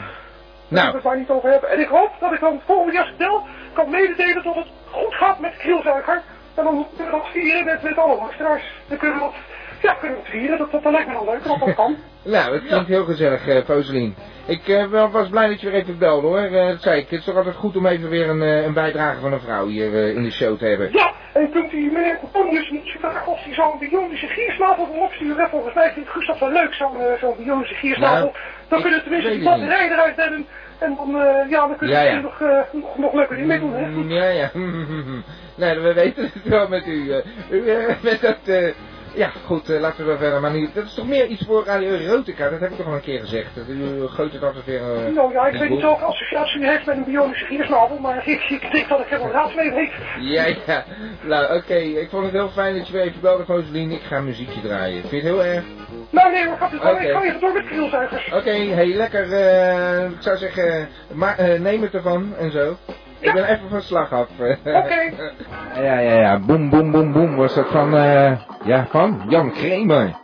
Daar moeten we
Nou,
het maar niet over hebben. En ik hoop dat ik dan het volgende jaar snel kan mededelen dat het goed gaat met de krielzuiger. En dan kunnen we dat vieren met, met alle luisteraars. Dan kunnen we dat, ja, kunnen we dat vieren. Dat, dat, dat lijkt me dan leuk, dat dat kan.
nou, het klinkt heel gezellig, eh Poseline. Ik eh, wel- was blij dat je weer even belde hoor. Eh, dat zei ik. Het is toch altijd goed om even weer een, eh, een bijdrage van een vrouw hier eh, in de show te hebben.
Ja, en kunt u meneer Couponius niet vragen of hij zo'n bionische giersnavel wil opsturen? Volgens mij vindt Gustav wel leuk, zo'n eh, zo'n bionische giersnavel.
Nou,
dan
ik
kunnen we tenminste
weet
die
het
batterij eruit hebben. En dan, eh, ja, dan kunnen
Ja,
we
ja.
hier nog, eh, nog, nog leuker in meedoen, hè?
Mm, Ja, ja. *laughs* nee, we weten het wel met u. eh. U, eh, *laughs* met dat, eh, ja, goed, eh, laten we wel verder. Maar niet, dat is toch meer iets voor Radio Erotica? Dat heb ik toch al een keer gezegd. Dat U gooit het altijd weer... eh,
Nou ja, ik
in
weet niet
boel.
welke associatie u heeft met een bionische giersnavel, maar ik, ik denk dat ik er wel raad mee weet.
Ja, ja. Nou, oké. Ik vond het heel fijn dat je weer even belde, Rosaline. Ik ga een muziekje draaien. Vind je het heel erg?
Nou nee, maar gaat het wel,
Oké.
ik ga even door met krielzuigers.
Oké, hey, lekker. eh, ik zou zeggen, ma- eh, neem het ervan en zo. Ik ben even van slag af. *laughs* Oké. Ja, ja, ja. Boom, boom, boom, boom. Was dat van, eh, ja, van Jan Kramer.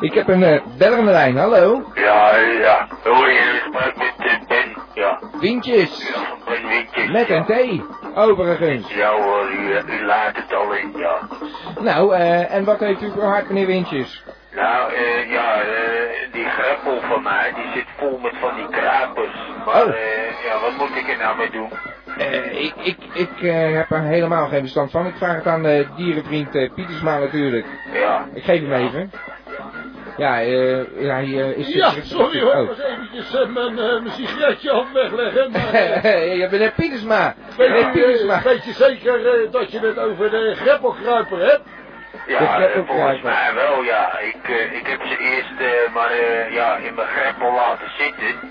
Ik heb een eh beller aan de lijn. Hallo.
Ja, ja. Hoor je in gesprek met eh, Ben? Ja,
Windjes.
Ben Wintjes.
Met een thee. Overigens.
Ja hoor, u, u laat het al in, ja.
Nou, eh, en wat heeft u voor hart, meneer Windjes?
Nou, eh, ja, eh, die greppel van mij, die zit vol met van die krapers. Maar,
Oh.
eh, ja, wat moet ik er nou mee doen?
Eh, ik ik, ik eh, heb er helemaal geen bestand van. Ik vraag het aan eh dierenvriend eh, Pietersma natuurlijk.
Ja.
Ik geef hem even. Ja, eh, hij eh, is...
Ja, sorry hoor, ik
Oh. *laughs*
was eventjes eh, mijn, eh, mijn sigaretje aan het wegleggen. Maar, eh,
Je bent een Pietersma.
weet,
Hey,
je, eh,
Pietersma.
weet je zeker eh, dat je het over de greppelkruiper hebt?
Ja,
Dat is
eh,
ook
volgens
waar.
mij wel, ja. Ik, eh, ik heb ze eerst eh, maar eh, ja, in mijn greppel laten zitten.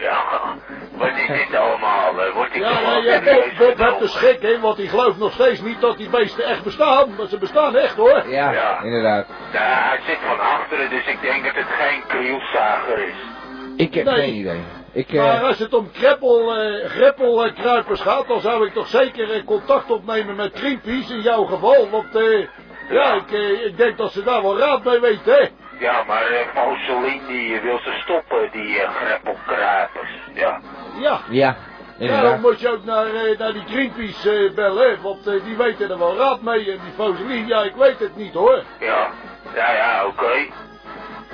Ja, *laughs* wat
*laughs*
is dit allemaal? eh? Word ik
Ja,
gewoon
nee, eh, Bob,
serieus
Bob hebt de
genomen?
schik in, want die gelooft nog steeds niet dat die beesten echt bestaan. Maar ze bestaan echt hoor.
Ja, inderdaad.
Ja, hij zit van achteren, dus ik denk dat het geen krielzager is.
Ik heb
Nee.
geen idee. Ik, eh,
Maar als het om kreppel, eh, greppelkruipers gaat, dan zou ik toch zeker eh, contact opnemen met Greenpeace in jouw geval. Want eh, ja, ik, eh, ik denk dat ze daar wel raad mee weten, hè?
Ja, maar eh, Paulselien die eh, wil ze stoppen, die eh, greppelkruipers. Ja.
Ja.
ja,
Ja, dan
inderdaad.
moet je ook naar, eh, naar die Greenpeace eh, bellen, hè, want eh, die weten er wel raad mee. En die Foseline, ja, ik weet het niet hoor.
Ja, ja, ja, oké.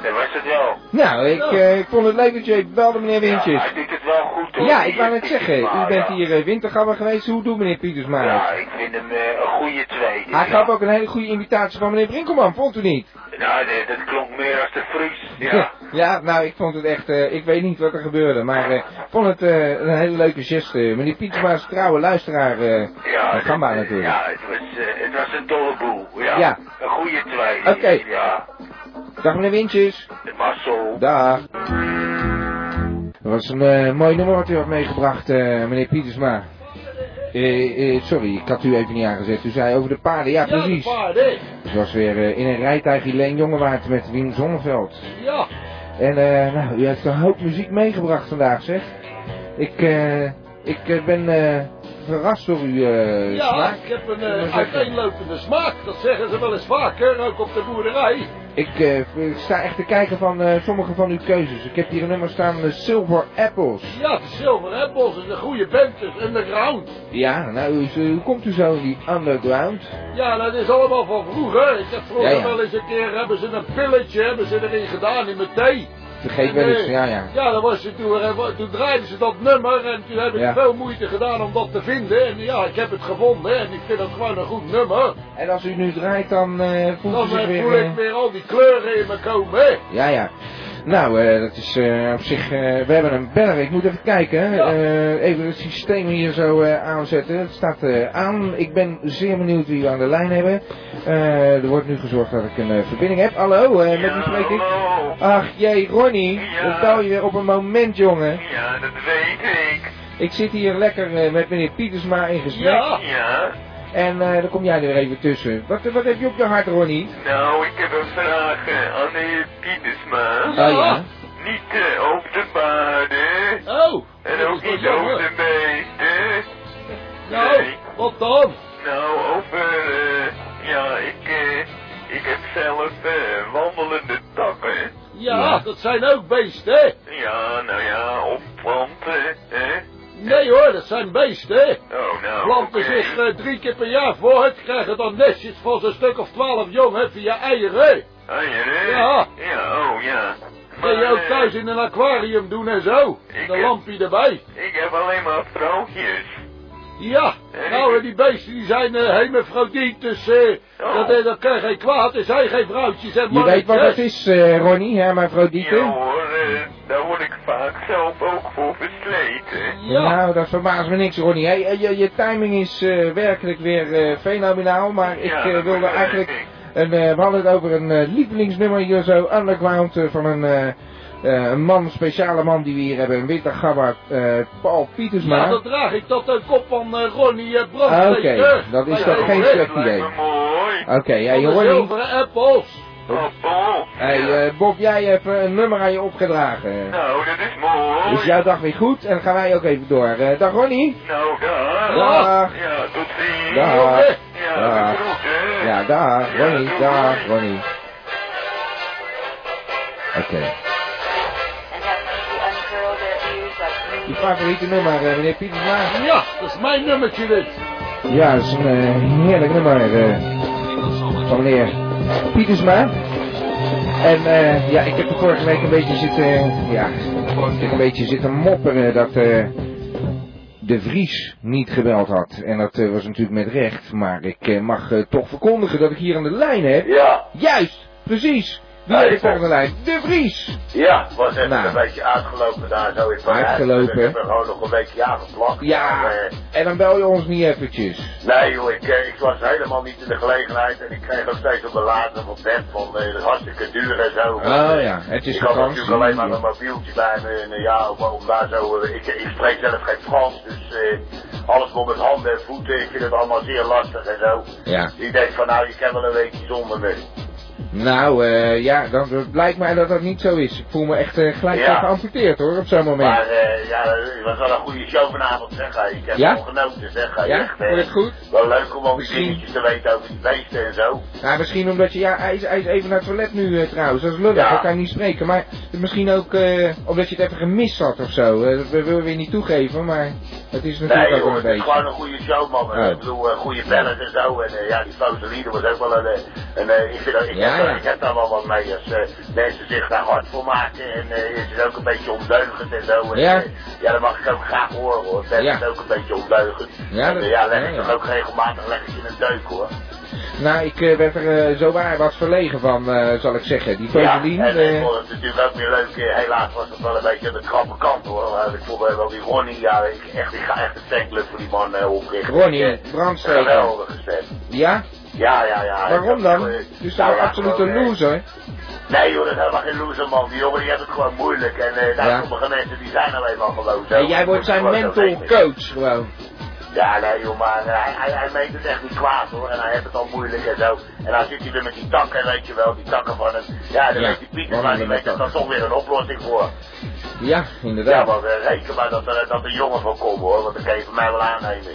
Dat was het wel.
Nou, ik, eh, ik vond het leuk dat je belde, meneer Wintjes.
Hij doet het wel goed hoor.
Ja,
die,
ik wou
eh,
net zeggen, u
Pietersma,
bent
ja.
hier eh, wintergabber geweest. Hoe doet meneer Pietersma
Ja,
het?
ik vind hem eh, een goede tweede.
Hij
ja.
gaf ook een hele goede imitatie van meneer Brinkelman, vond u niet?
Nou, nee, dat klonk meer als de Fries. Ja.
Ja, nou, ik vond het echt, eh, ik weet niet wat er gebeurde, maar eh, ik vond het eh, een hele leuke geste. Meneer Pietersma is een trouwe luisteraar eh van Gamba natuurlijk.
Ja, het was, eh, het was een dolle boel. Ja.
Ja.
Een goede tweede.
Oké.
Ja.
Dag meneer Wintjes.
Marcel.
Dag. Dat was een eh, mooi nummer wat u had meegebracht, eh, meneer Pietersma. Eh, eh, sorry, ik had u even niet aangezet. U zei over de paarden, ja
Ja, de
precies.
paarden.
Ze was weer eh, in een rijtuig Helene Jongewaard met Wim Zonneveld.
Ja.
En eh, nou, u heeft een hoop muziek meegebracht vandaag, zeg. Ik, eh, ik eh, ben eh, verrast door uw eh,
Ja,
smaak.
ik heb een
maar
eh,
zeggen.
uiteenlopende smaak. Dat zeggen ze wel eens vaker, ook op de boerderij.
Ik eh, sta echt te kijken van eh, sommige van uw keuzes. Ik heb hier een nummer staan, eh, Silver Apples.
Ja, de Silver Apples is een goede band, dus underground.
Ja, nou, hoe, hoe komt u zo in die underground?
Ja, dat is allemaal van vroeger. Ik heb vroeger
Ja, ja.
wel eens een keer, hebben ze een pilletje, hebben ze erin gedaan in mijn thee.
Vergeet
En,
wel eens,
eh,
ja, ja.
Ja, dat was het toen, eh, toen draaiden ze dat nummer en toen heb ik
Ja.
veel moeite gedaan om dat te vinden. En ja, ik heb het gevonden en ik vind dat gewoon een goed nummer.
En als u nu draait, dan eh voelt u
Dan
zich
eh,
weer...
voel
eh,
ik weer al die kleuren in me komen, hè.
Ja, ja. Nou, eh, dat is eh, op zich... eh, we hebben een beller. Ik moet even kijken. hè. Eh, even het systeem hier zo eh, aanzetten. Het staat eh, aan. Ik ben zeer benieuwd wie we aan de lijn hebben. Eh, er wordt nu gezorgd dat ik een eh, verbinding heb. Hallo, eh, met wie spreek ik? Ach, jij Ronnie. Dat bel je weer op een moment, jongen.
Ja, dat weet ik.
Ik zit hier lekker eh, met meneer Pietersma in gesprek.
Ja.
En eh dan kom jij er even tussen. Wat, wat heb je op je hart, Ronnie?
Nou, ik heb een vraag eh, aan de heer Pietersma.
Oh, ja.
Niet eh, over de paarden.
Oh.
En ook niet over de beesten.
Nou,
Nee.
wat dan?
Nou, over... eh, ja, ik... eh, ik heb zelf eh, wandelende takken.
Ja, dat zijn ook beesten, hè.
Ja, nou ja, op planten, hè?
Nee hoor, dat zijn beesten, hè.
Oh, nou,
Planten
oké.
zich eh, drie keer per jaar voort, krijgen dan nestjes van zo'n stuk of twaalf jongen via eieren, hè.
Eieren?
Ja.
Ja, oh ja.
Kun je
Maar,
ook
eh,
thuis in een aquarium doen en zo. Met een lampje erbij.
Ik heb alleen maar vrouwtjes.
Ja, nou en die beesten die zijn eh hermafrodiet, dus eh,
Oh.
dat, eh, dat kan geen kwaad. Er zijn geen vrouwtjes en
Je
mannetjes.
weet wat dat is, eh Ronnie, hermafrodite.
Ja hoor, eh, daar word ik vaak zelf ook voor versleten.
Nou, dat verbaast me niks, Ronnie. Hey, eh, je, je timing is eh, werkelijk weer eh, fenomenaal, maar ik
Ja,
eh,
dat
wilde
begrijp
eigenlijk... Een, eh, we hadden het over een eh, lievelingsnummer hier zo, underground, eh, van een, eh, eh, een man, speciale man die we hier hebben, een witte gabber, eh, Paul Pietersma.
Ja, dat draag ik tot een kop van eh, Ronnie eh,
Ah,
Brand.
Oké, dat is toch geen slecht
Nou,
idee. Oké, ja, je hoort niet.
zilveren appels.
Hey, eh, Bob, jij hebt eh, een nummer aan je opgedragen.
Nou, dat is mooi.
Is jouw dag weer goed? En dan gaan wij ook even door. Eh, dag Ronnie.
Nou, dag.
Dag.
Ja, tot ziens.
Dag.
Ja,
Dag.
groeten.
Ja, dag Ronnie.
doei.
Dag Ronnie. Oké. Je favoriete nummer, eh, meneer Pietersma?
Ja, dat is mijn nummertje dit.
Ja, dat is een eh, heerlijk nummer eh, van meneer Pietersma. En eh, ja, ik heb er vorige week een beetje zitten, ja, ik heb een beetje zitten mopperen dat eh, de Vries niet gebeld had. En dat eh, was natuurlijk met recht, maar ik eh, mag eh, toch verkondigen dat ik hier aan de lijn heb.
Ja.
Juist, precies. Wie is de volgende lijn? De Vries!
Ja, het was even
Nou.
een beetje uitgelopen daar zo in Parijs. Dus
Uitgelopen.
We hebben gewoon nog een beetje aangeplakt.
Ja.
En, eh,
En dan bel je ons niet eventjes.
nee joh, ik, eh, ik was helemaal niet in de gelegenheid en ik kreeg nog steeds op de laatste op bed van eh, dat is hartstikke duur en zo. eh,
Oh ja, het is
ik had
vakantie.
natuurlijk alleen maar mijn mobieltje bij me en eh, ja, om, om daar zo, eh, ik, ik spreek zelf geen Frans, dus eh, alles nog met handen en voeten, ik vind het allemaal zeer lastig en zo.
Ja.
Ik denk van nou, je kan wel een weekje zonder me.
Nou, eh, ja, dan eh, blijkt mij dat dat niet zo is. Ik voel me echt eh, gelijk
Ja.
geamputeerd hoor, op zo'n moment.
Maar eh, ja, het was wel een goede show vanavond, zeg. hè. Ik heb
Ja?
wel genoten, zeg. hè.
Ja?
Echt, eh,
Vond je het goed?
Wel leuk om al die
Misschien.
dingetjes te weten over die beesten en zo.
Nou, misschien omdat je, ja, hij is, hij is even naar het toilet nu eh, trouwens, dat is lullig,
Ja.
dat kan je niet spreken. Maar misschien ook eh, omdat je het even gemist had of zo. Eh, dat willen we weer niet toegeven, maar het is natuurlijk
Nee,
ook
joh,
wel
het
een
is gewoon
beetje.
een goede show, man.
Ja.
Ik bedoel, eh, goede bellen en zo. En eh, ja, die Foseline was ook wel een... eh, een eh, ik, vind, dat- ik,
Ja,
heb, daar-
ja.
ik heb daar wel wat mee als eh, mensen zich daar hard voor maken. En eh het is ook een beetje ondeugend en zo. En,
Ja.
eh, ja, dat mag ik ook graag horen, hoor. Ben
Ja.
is ook een beetje ondeugend.
Ja,
en,
dat-
eh, ja, leg ik
ja, ja.
toch ook regelmatig leg ik in een deuk, hoor.
Nou, ik eh, werd er eh, zo waar wat verlegen van, eh, zal ik zeggen. Die Vezelien,
Ja, en ik
eh,
vond het natuurlijk ook weer leuk. Eh, Helaas was het wel een beetje aan de krappe kant hoor. Maar ik vond eh, wel die Ronnie, ja, ik, echt, ik ga echt een tankclub voor die man eh, oprichten.
Ronnie,
Ik, eh,
brandsteker.
Geweldig gezet.
ja?
Ja, ja, ja.
Waarom
Ik heb,
dan?
eh,
Je is
nou
toch
ja,
absoluut
gewoon,
een
eh,
loser?
Nee joh, dat is helemaal geen loser man. Die jongen die heeft het gewoon moeilijk. En eh nou,
Ja.
sommige mensen die zijn alleen maar gelozen.
En jij wordt zijn mental coach gewoon.
Ja, nee joh, maar eh, hij, hij, hij meent het echt niet kwaad hoor. En hij heeft het al moeilijk en zo. En dan zit hij weer met die takken, weet je wel, die takken van hem. Ja, dan
Ja,
weet die Pieter, maar
mannen
die
met
weet er dan toch weer een oplossing voor.
Ja,
Ja,
inderdaad.
maar eh, reken maar dat er, dat er jongen van komen hoor, want dan kan je van mij wel aannemen.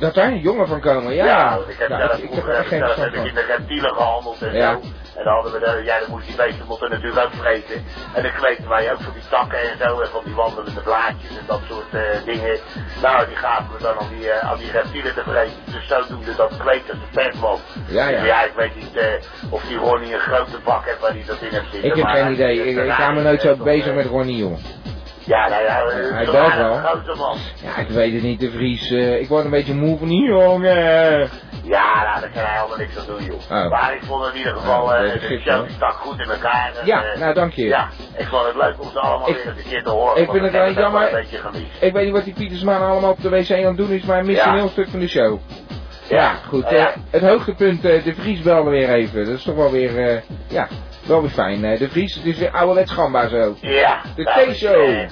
Dat daar een jongen van komen, ja.
want ik heb
Nou,
zelf,
ik, ik heb
vroeger
er
heb
echt
ik
geen
zelf
verstand
heb ik in
van.
de reptielen gehandeld en
Ja.
zo. En dan hadden we de, ja, dan moest die beesten moeten natuurlijk ook vreten. En dan kweten wij ook van die takken en zo, en van die wandelende blaadjes en dat soort eh, dingen. Nou, die gaven we dan aan die, eh, aan die reptielen te vreten. Dus zodoende dat kweet als een pet was.
Ja, ja.
Dus ik weet niet eh, of die Ronnie een grote bak heeft waar die dat in heeft zitten.
Ik heb
maar
geen
hij-
idee. Ik, ik ga me nooit zo bezig met Ronnie, joh.
Ja, nou ja, eh,
Hij
zo'n
belt
aardige
wel.
grote man.
Ja, ik weet het niet, de Vries. eh, ik word een beetje moe van die jongen.
Ja, nou, daar kan hij helemaal niks aan doen, joh.
Oh.
Maar ik vond in ieder geval, eh
Ja, dat
de
begrijp
show
ik.
die stak goed in elkaar. En,
Ja,
eh,
nou, dank je.
Ja, ik vond het leuk om ze allemaal
Ik-
weer eens een keer te horen.
ik
want
vind het
heb
wel
ook
jammer.
een beetje gemist.
Ik weet niet wat die Pietersman allemaal op de wc aan het doen is, maar hij mist
Ja.
een heel stuk van de show.
Ja.
Ja, goed.
Nou ja.
eh, het hoogtepunt, eh, de Vries belde weer even. Dat is toch wel weer, eh, ja, wel weer fijn. eh, de Vries, het is weer ouderwets gamba zo.
Ja.
De
nou, ik,
T-show.
eh,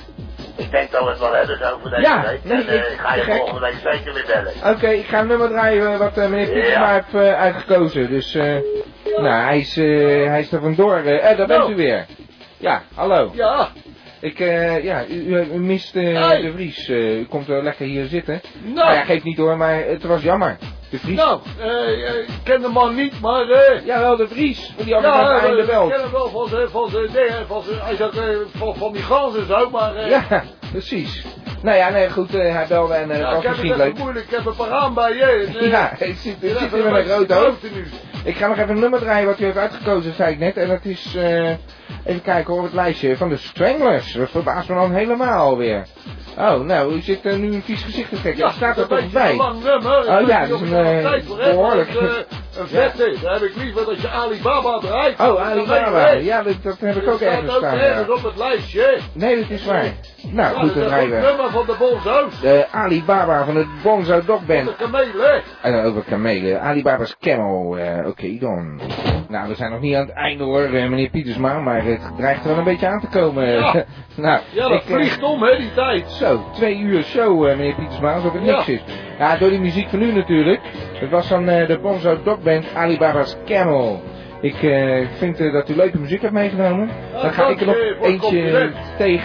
Ik denk dat we het wel hebben zo voor deze
Ja,
week.
nee,
en eh,
ik-
ik ga je
gek.
volgende week zeker weer bellen.
Oké, ik ga een nummer draaien eh, wat eh, meneer Pietersma
Ja.
heeft eh, uitgekozen. Dus, eh, nou, hij is, eh, hij is er vandoor. eh eh, daar bent
Nou.
u weer. Ja, hallo.
Ja,
Ik, eh, ja, u, u, u mist eh,
Hey.
de Vries. eh, u komt wel lekker hier zitten.
Nou.
Maar Ah, ja, geeft niet hoor, maar eh, het was jammer. De Vries.
nou, eh, eh, ik ken de man niet, maar... eh,
Jawel, de Vries. want Die had ik aan het
eh,
einde
ik ken
wel.
hem wel van zijn, van zijn dingen, van zijn, hij zegt, eh, van, van die ganzen zo, maar... eh,
Ja, precies. Nou ja, nee, goed, eh, hij belde en eh,
ja, ik
het
heb
was
het
misschien
even
leuk.
moeilijk, ik heb een paar aan bij je. en, eh, Nou,
Ja, *laughs* ik zit,
ik
ik zit
heb
hier met
een
een groot
beetje
hoofd.
droogte nu.
Ik ga nog even een nummer draaien wat u heeft uitgekozen, zei ik net. En dat is, eh, even kijken hoor, het lijstje van de Stranglers. Dat verbaast me dan helemaal alweer. Oh, nou, u zit eh, nu een vies gezicht te trekken.
Ja,
Het staat er
dat
toch
is een
bij?
lang nummer. Ik
Oh
weet
ja,
niet
dat
of
is
ik er
een,
nog
eh,
tijd voor heb, maar dat is,
behoorlijk.
eh, Een vette, daar heb ik liever dat je Alibaba draait.
Oh,
Dat
Alibaba.
weet ik.
Ja, dat, dat heb ik
Dat
ook ergens
staat
staan.
ook
ja.
ergens op het lijstje.
Nee, dat is waar. Nou,
Ja,
goed, dan
dat is
draaien
het
we.
nummer van de Bonzo's.
De Alibaba van het Bonzo Dog Band.
De kamelen.
En dan over kamelen. Alibaba's camel. eh, Oké dan. Nou, we zijn nog niet aan het einde hoor, eh, meneer Pietersma. Maar het dreigt er wel een beetje aan te komen.
Ja.
*laughs* nou,
Ja, dat
ik, eh,
vliegt om, hè, die tijd.
Zo, twee uur show, eh, meneer Pietersma. Alsof het
Ja.
niks is. Ja, door die muziek van u natuurlijk. Het was van eh, de Bonzo Dog Band Alibaba's camel. Ik eh, vind eh, dat u leuke muziek hebt meegenomen.
Ja,
Dan ga ik er nog
Ah, dank je voor het
eentje
compliment.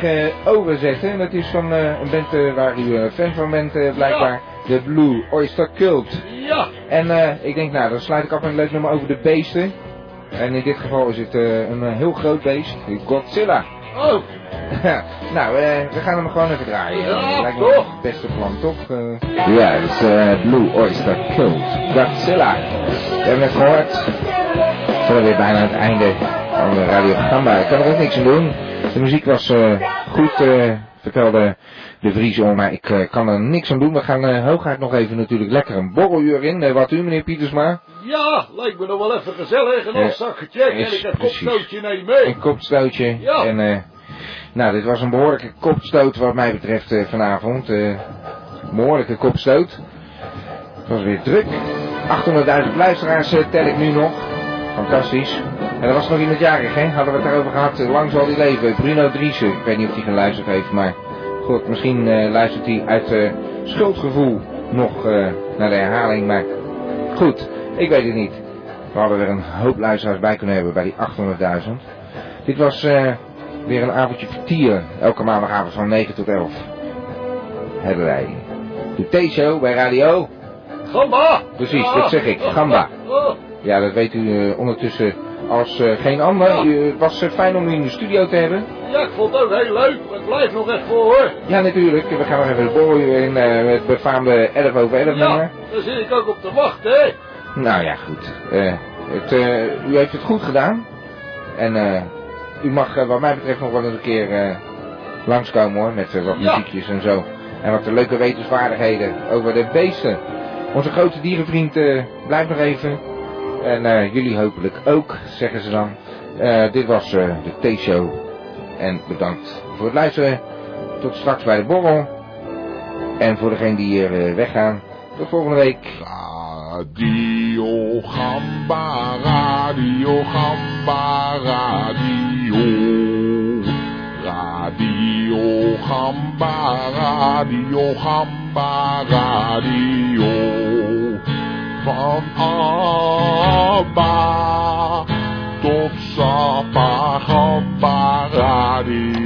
tegenover zetten. En dat is van eh, een band eh, waar u eh, fan van bent, eh, blijkbaar. De Blue Oyster Cult.
Ja,
En eh, ik denk, nou, dan sluit ik af met een leuk nummer over de beesten. En in dit geval is het eh, een eh, heel groot beest, Godzilla.
oh,
*laughs* nou, eh, we gaan hem gewoon even draaien.
Ja,
Lijkt me
toch?
het beste plan, toch? eh? Ja, het is Blue Oyster Cult, Godzilla. We hebben het gehoord. We zijn weer bijna aan het einde van de radioprogramma. Ik kan er ook niks aan doen. De muziek was eh, goed, eh, vertelde de Vries om, maar ik eh, kan er niks aan doen. We gaan eh, hooguit nog even natuurlijk lekker een borreluur in. Eh, wat u, meneer Pietersma?
Ja, lijkt me nog wel even gezellig. En
Ja,
een zakje check en
is
ik een
precies.
kopstootje neem mee.
Een kopstootje.
Ja.
En, eh, nou, dit was een behoorlijke kopstoot wat mij betreft eh, vanavond. Eh, behoorlijke kopstoot. Het was weer druk. 800.000 luisteraars eh, tel ik nu nog. Fantastisch. En er was nog iemand jarig, hè? Hadden we het daarover gehad. Eh, Lang zal die leven. Bruno Driessen. Ik weet niet of hij geluisterd heeft, maar... Goed, misschien eh, luistert hij uit eh, schuldgevoel nog eh, naar de herhaling, maar... Goed, ik weet het niet. We hadden er een hoop luisteraars bij kunnen hebben bij die 800.000. Dit was eh, weer een avondje vertier. Elke maandagavond van 9 tot 11. Hebben wij de T-show bij radio.
Gamba!
Precies,
Ja.
dat zeg ik. Gamba.
Oh, oh.
Ja, dat weet u eh, ondertussen als eh, geen ander. U- Het was eh, fijn om u in de studio te hebben.
Ja, ik vond het ook heel leuk. maar Het blijft nog echt voor hoor.
Ja, natuurlijk. We gaan nog even de borrel in eh, het befaamde 11 over 11 nummer.
Ja, daar zit ik ook op te wachten, hè.
Nou ja, goed. Eh, het, eh, u heeft het goed gedaan. En eh, u mag eh, wat mij betreft nog wel eens een keer eh, langskomen hoor. Met eh, wat
Ja.
muziekjes en zo. En wat leuke wetenswaardigheden over de beesten. Onze grote dierenvriend eh, blijft nog even. En eh, jullie hopelijk ook, zeggen ze dan. Eh, dit was eh, de T-show. En bedankt voor het luisteren. Tot straks bij de borrel. En voor degenen die hier eh, weggaan. Tot volgende week.
Radio Gamba, Radio Gamba, Radio. Radio Gamba, Radio Gamba, Radio. Van Abba tot Sapa Gamba, Radio.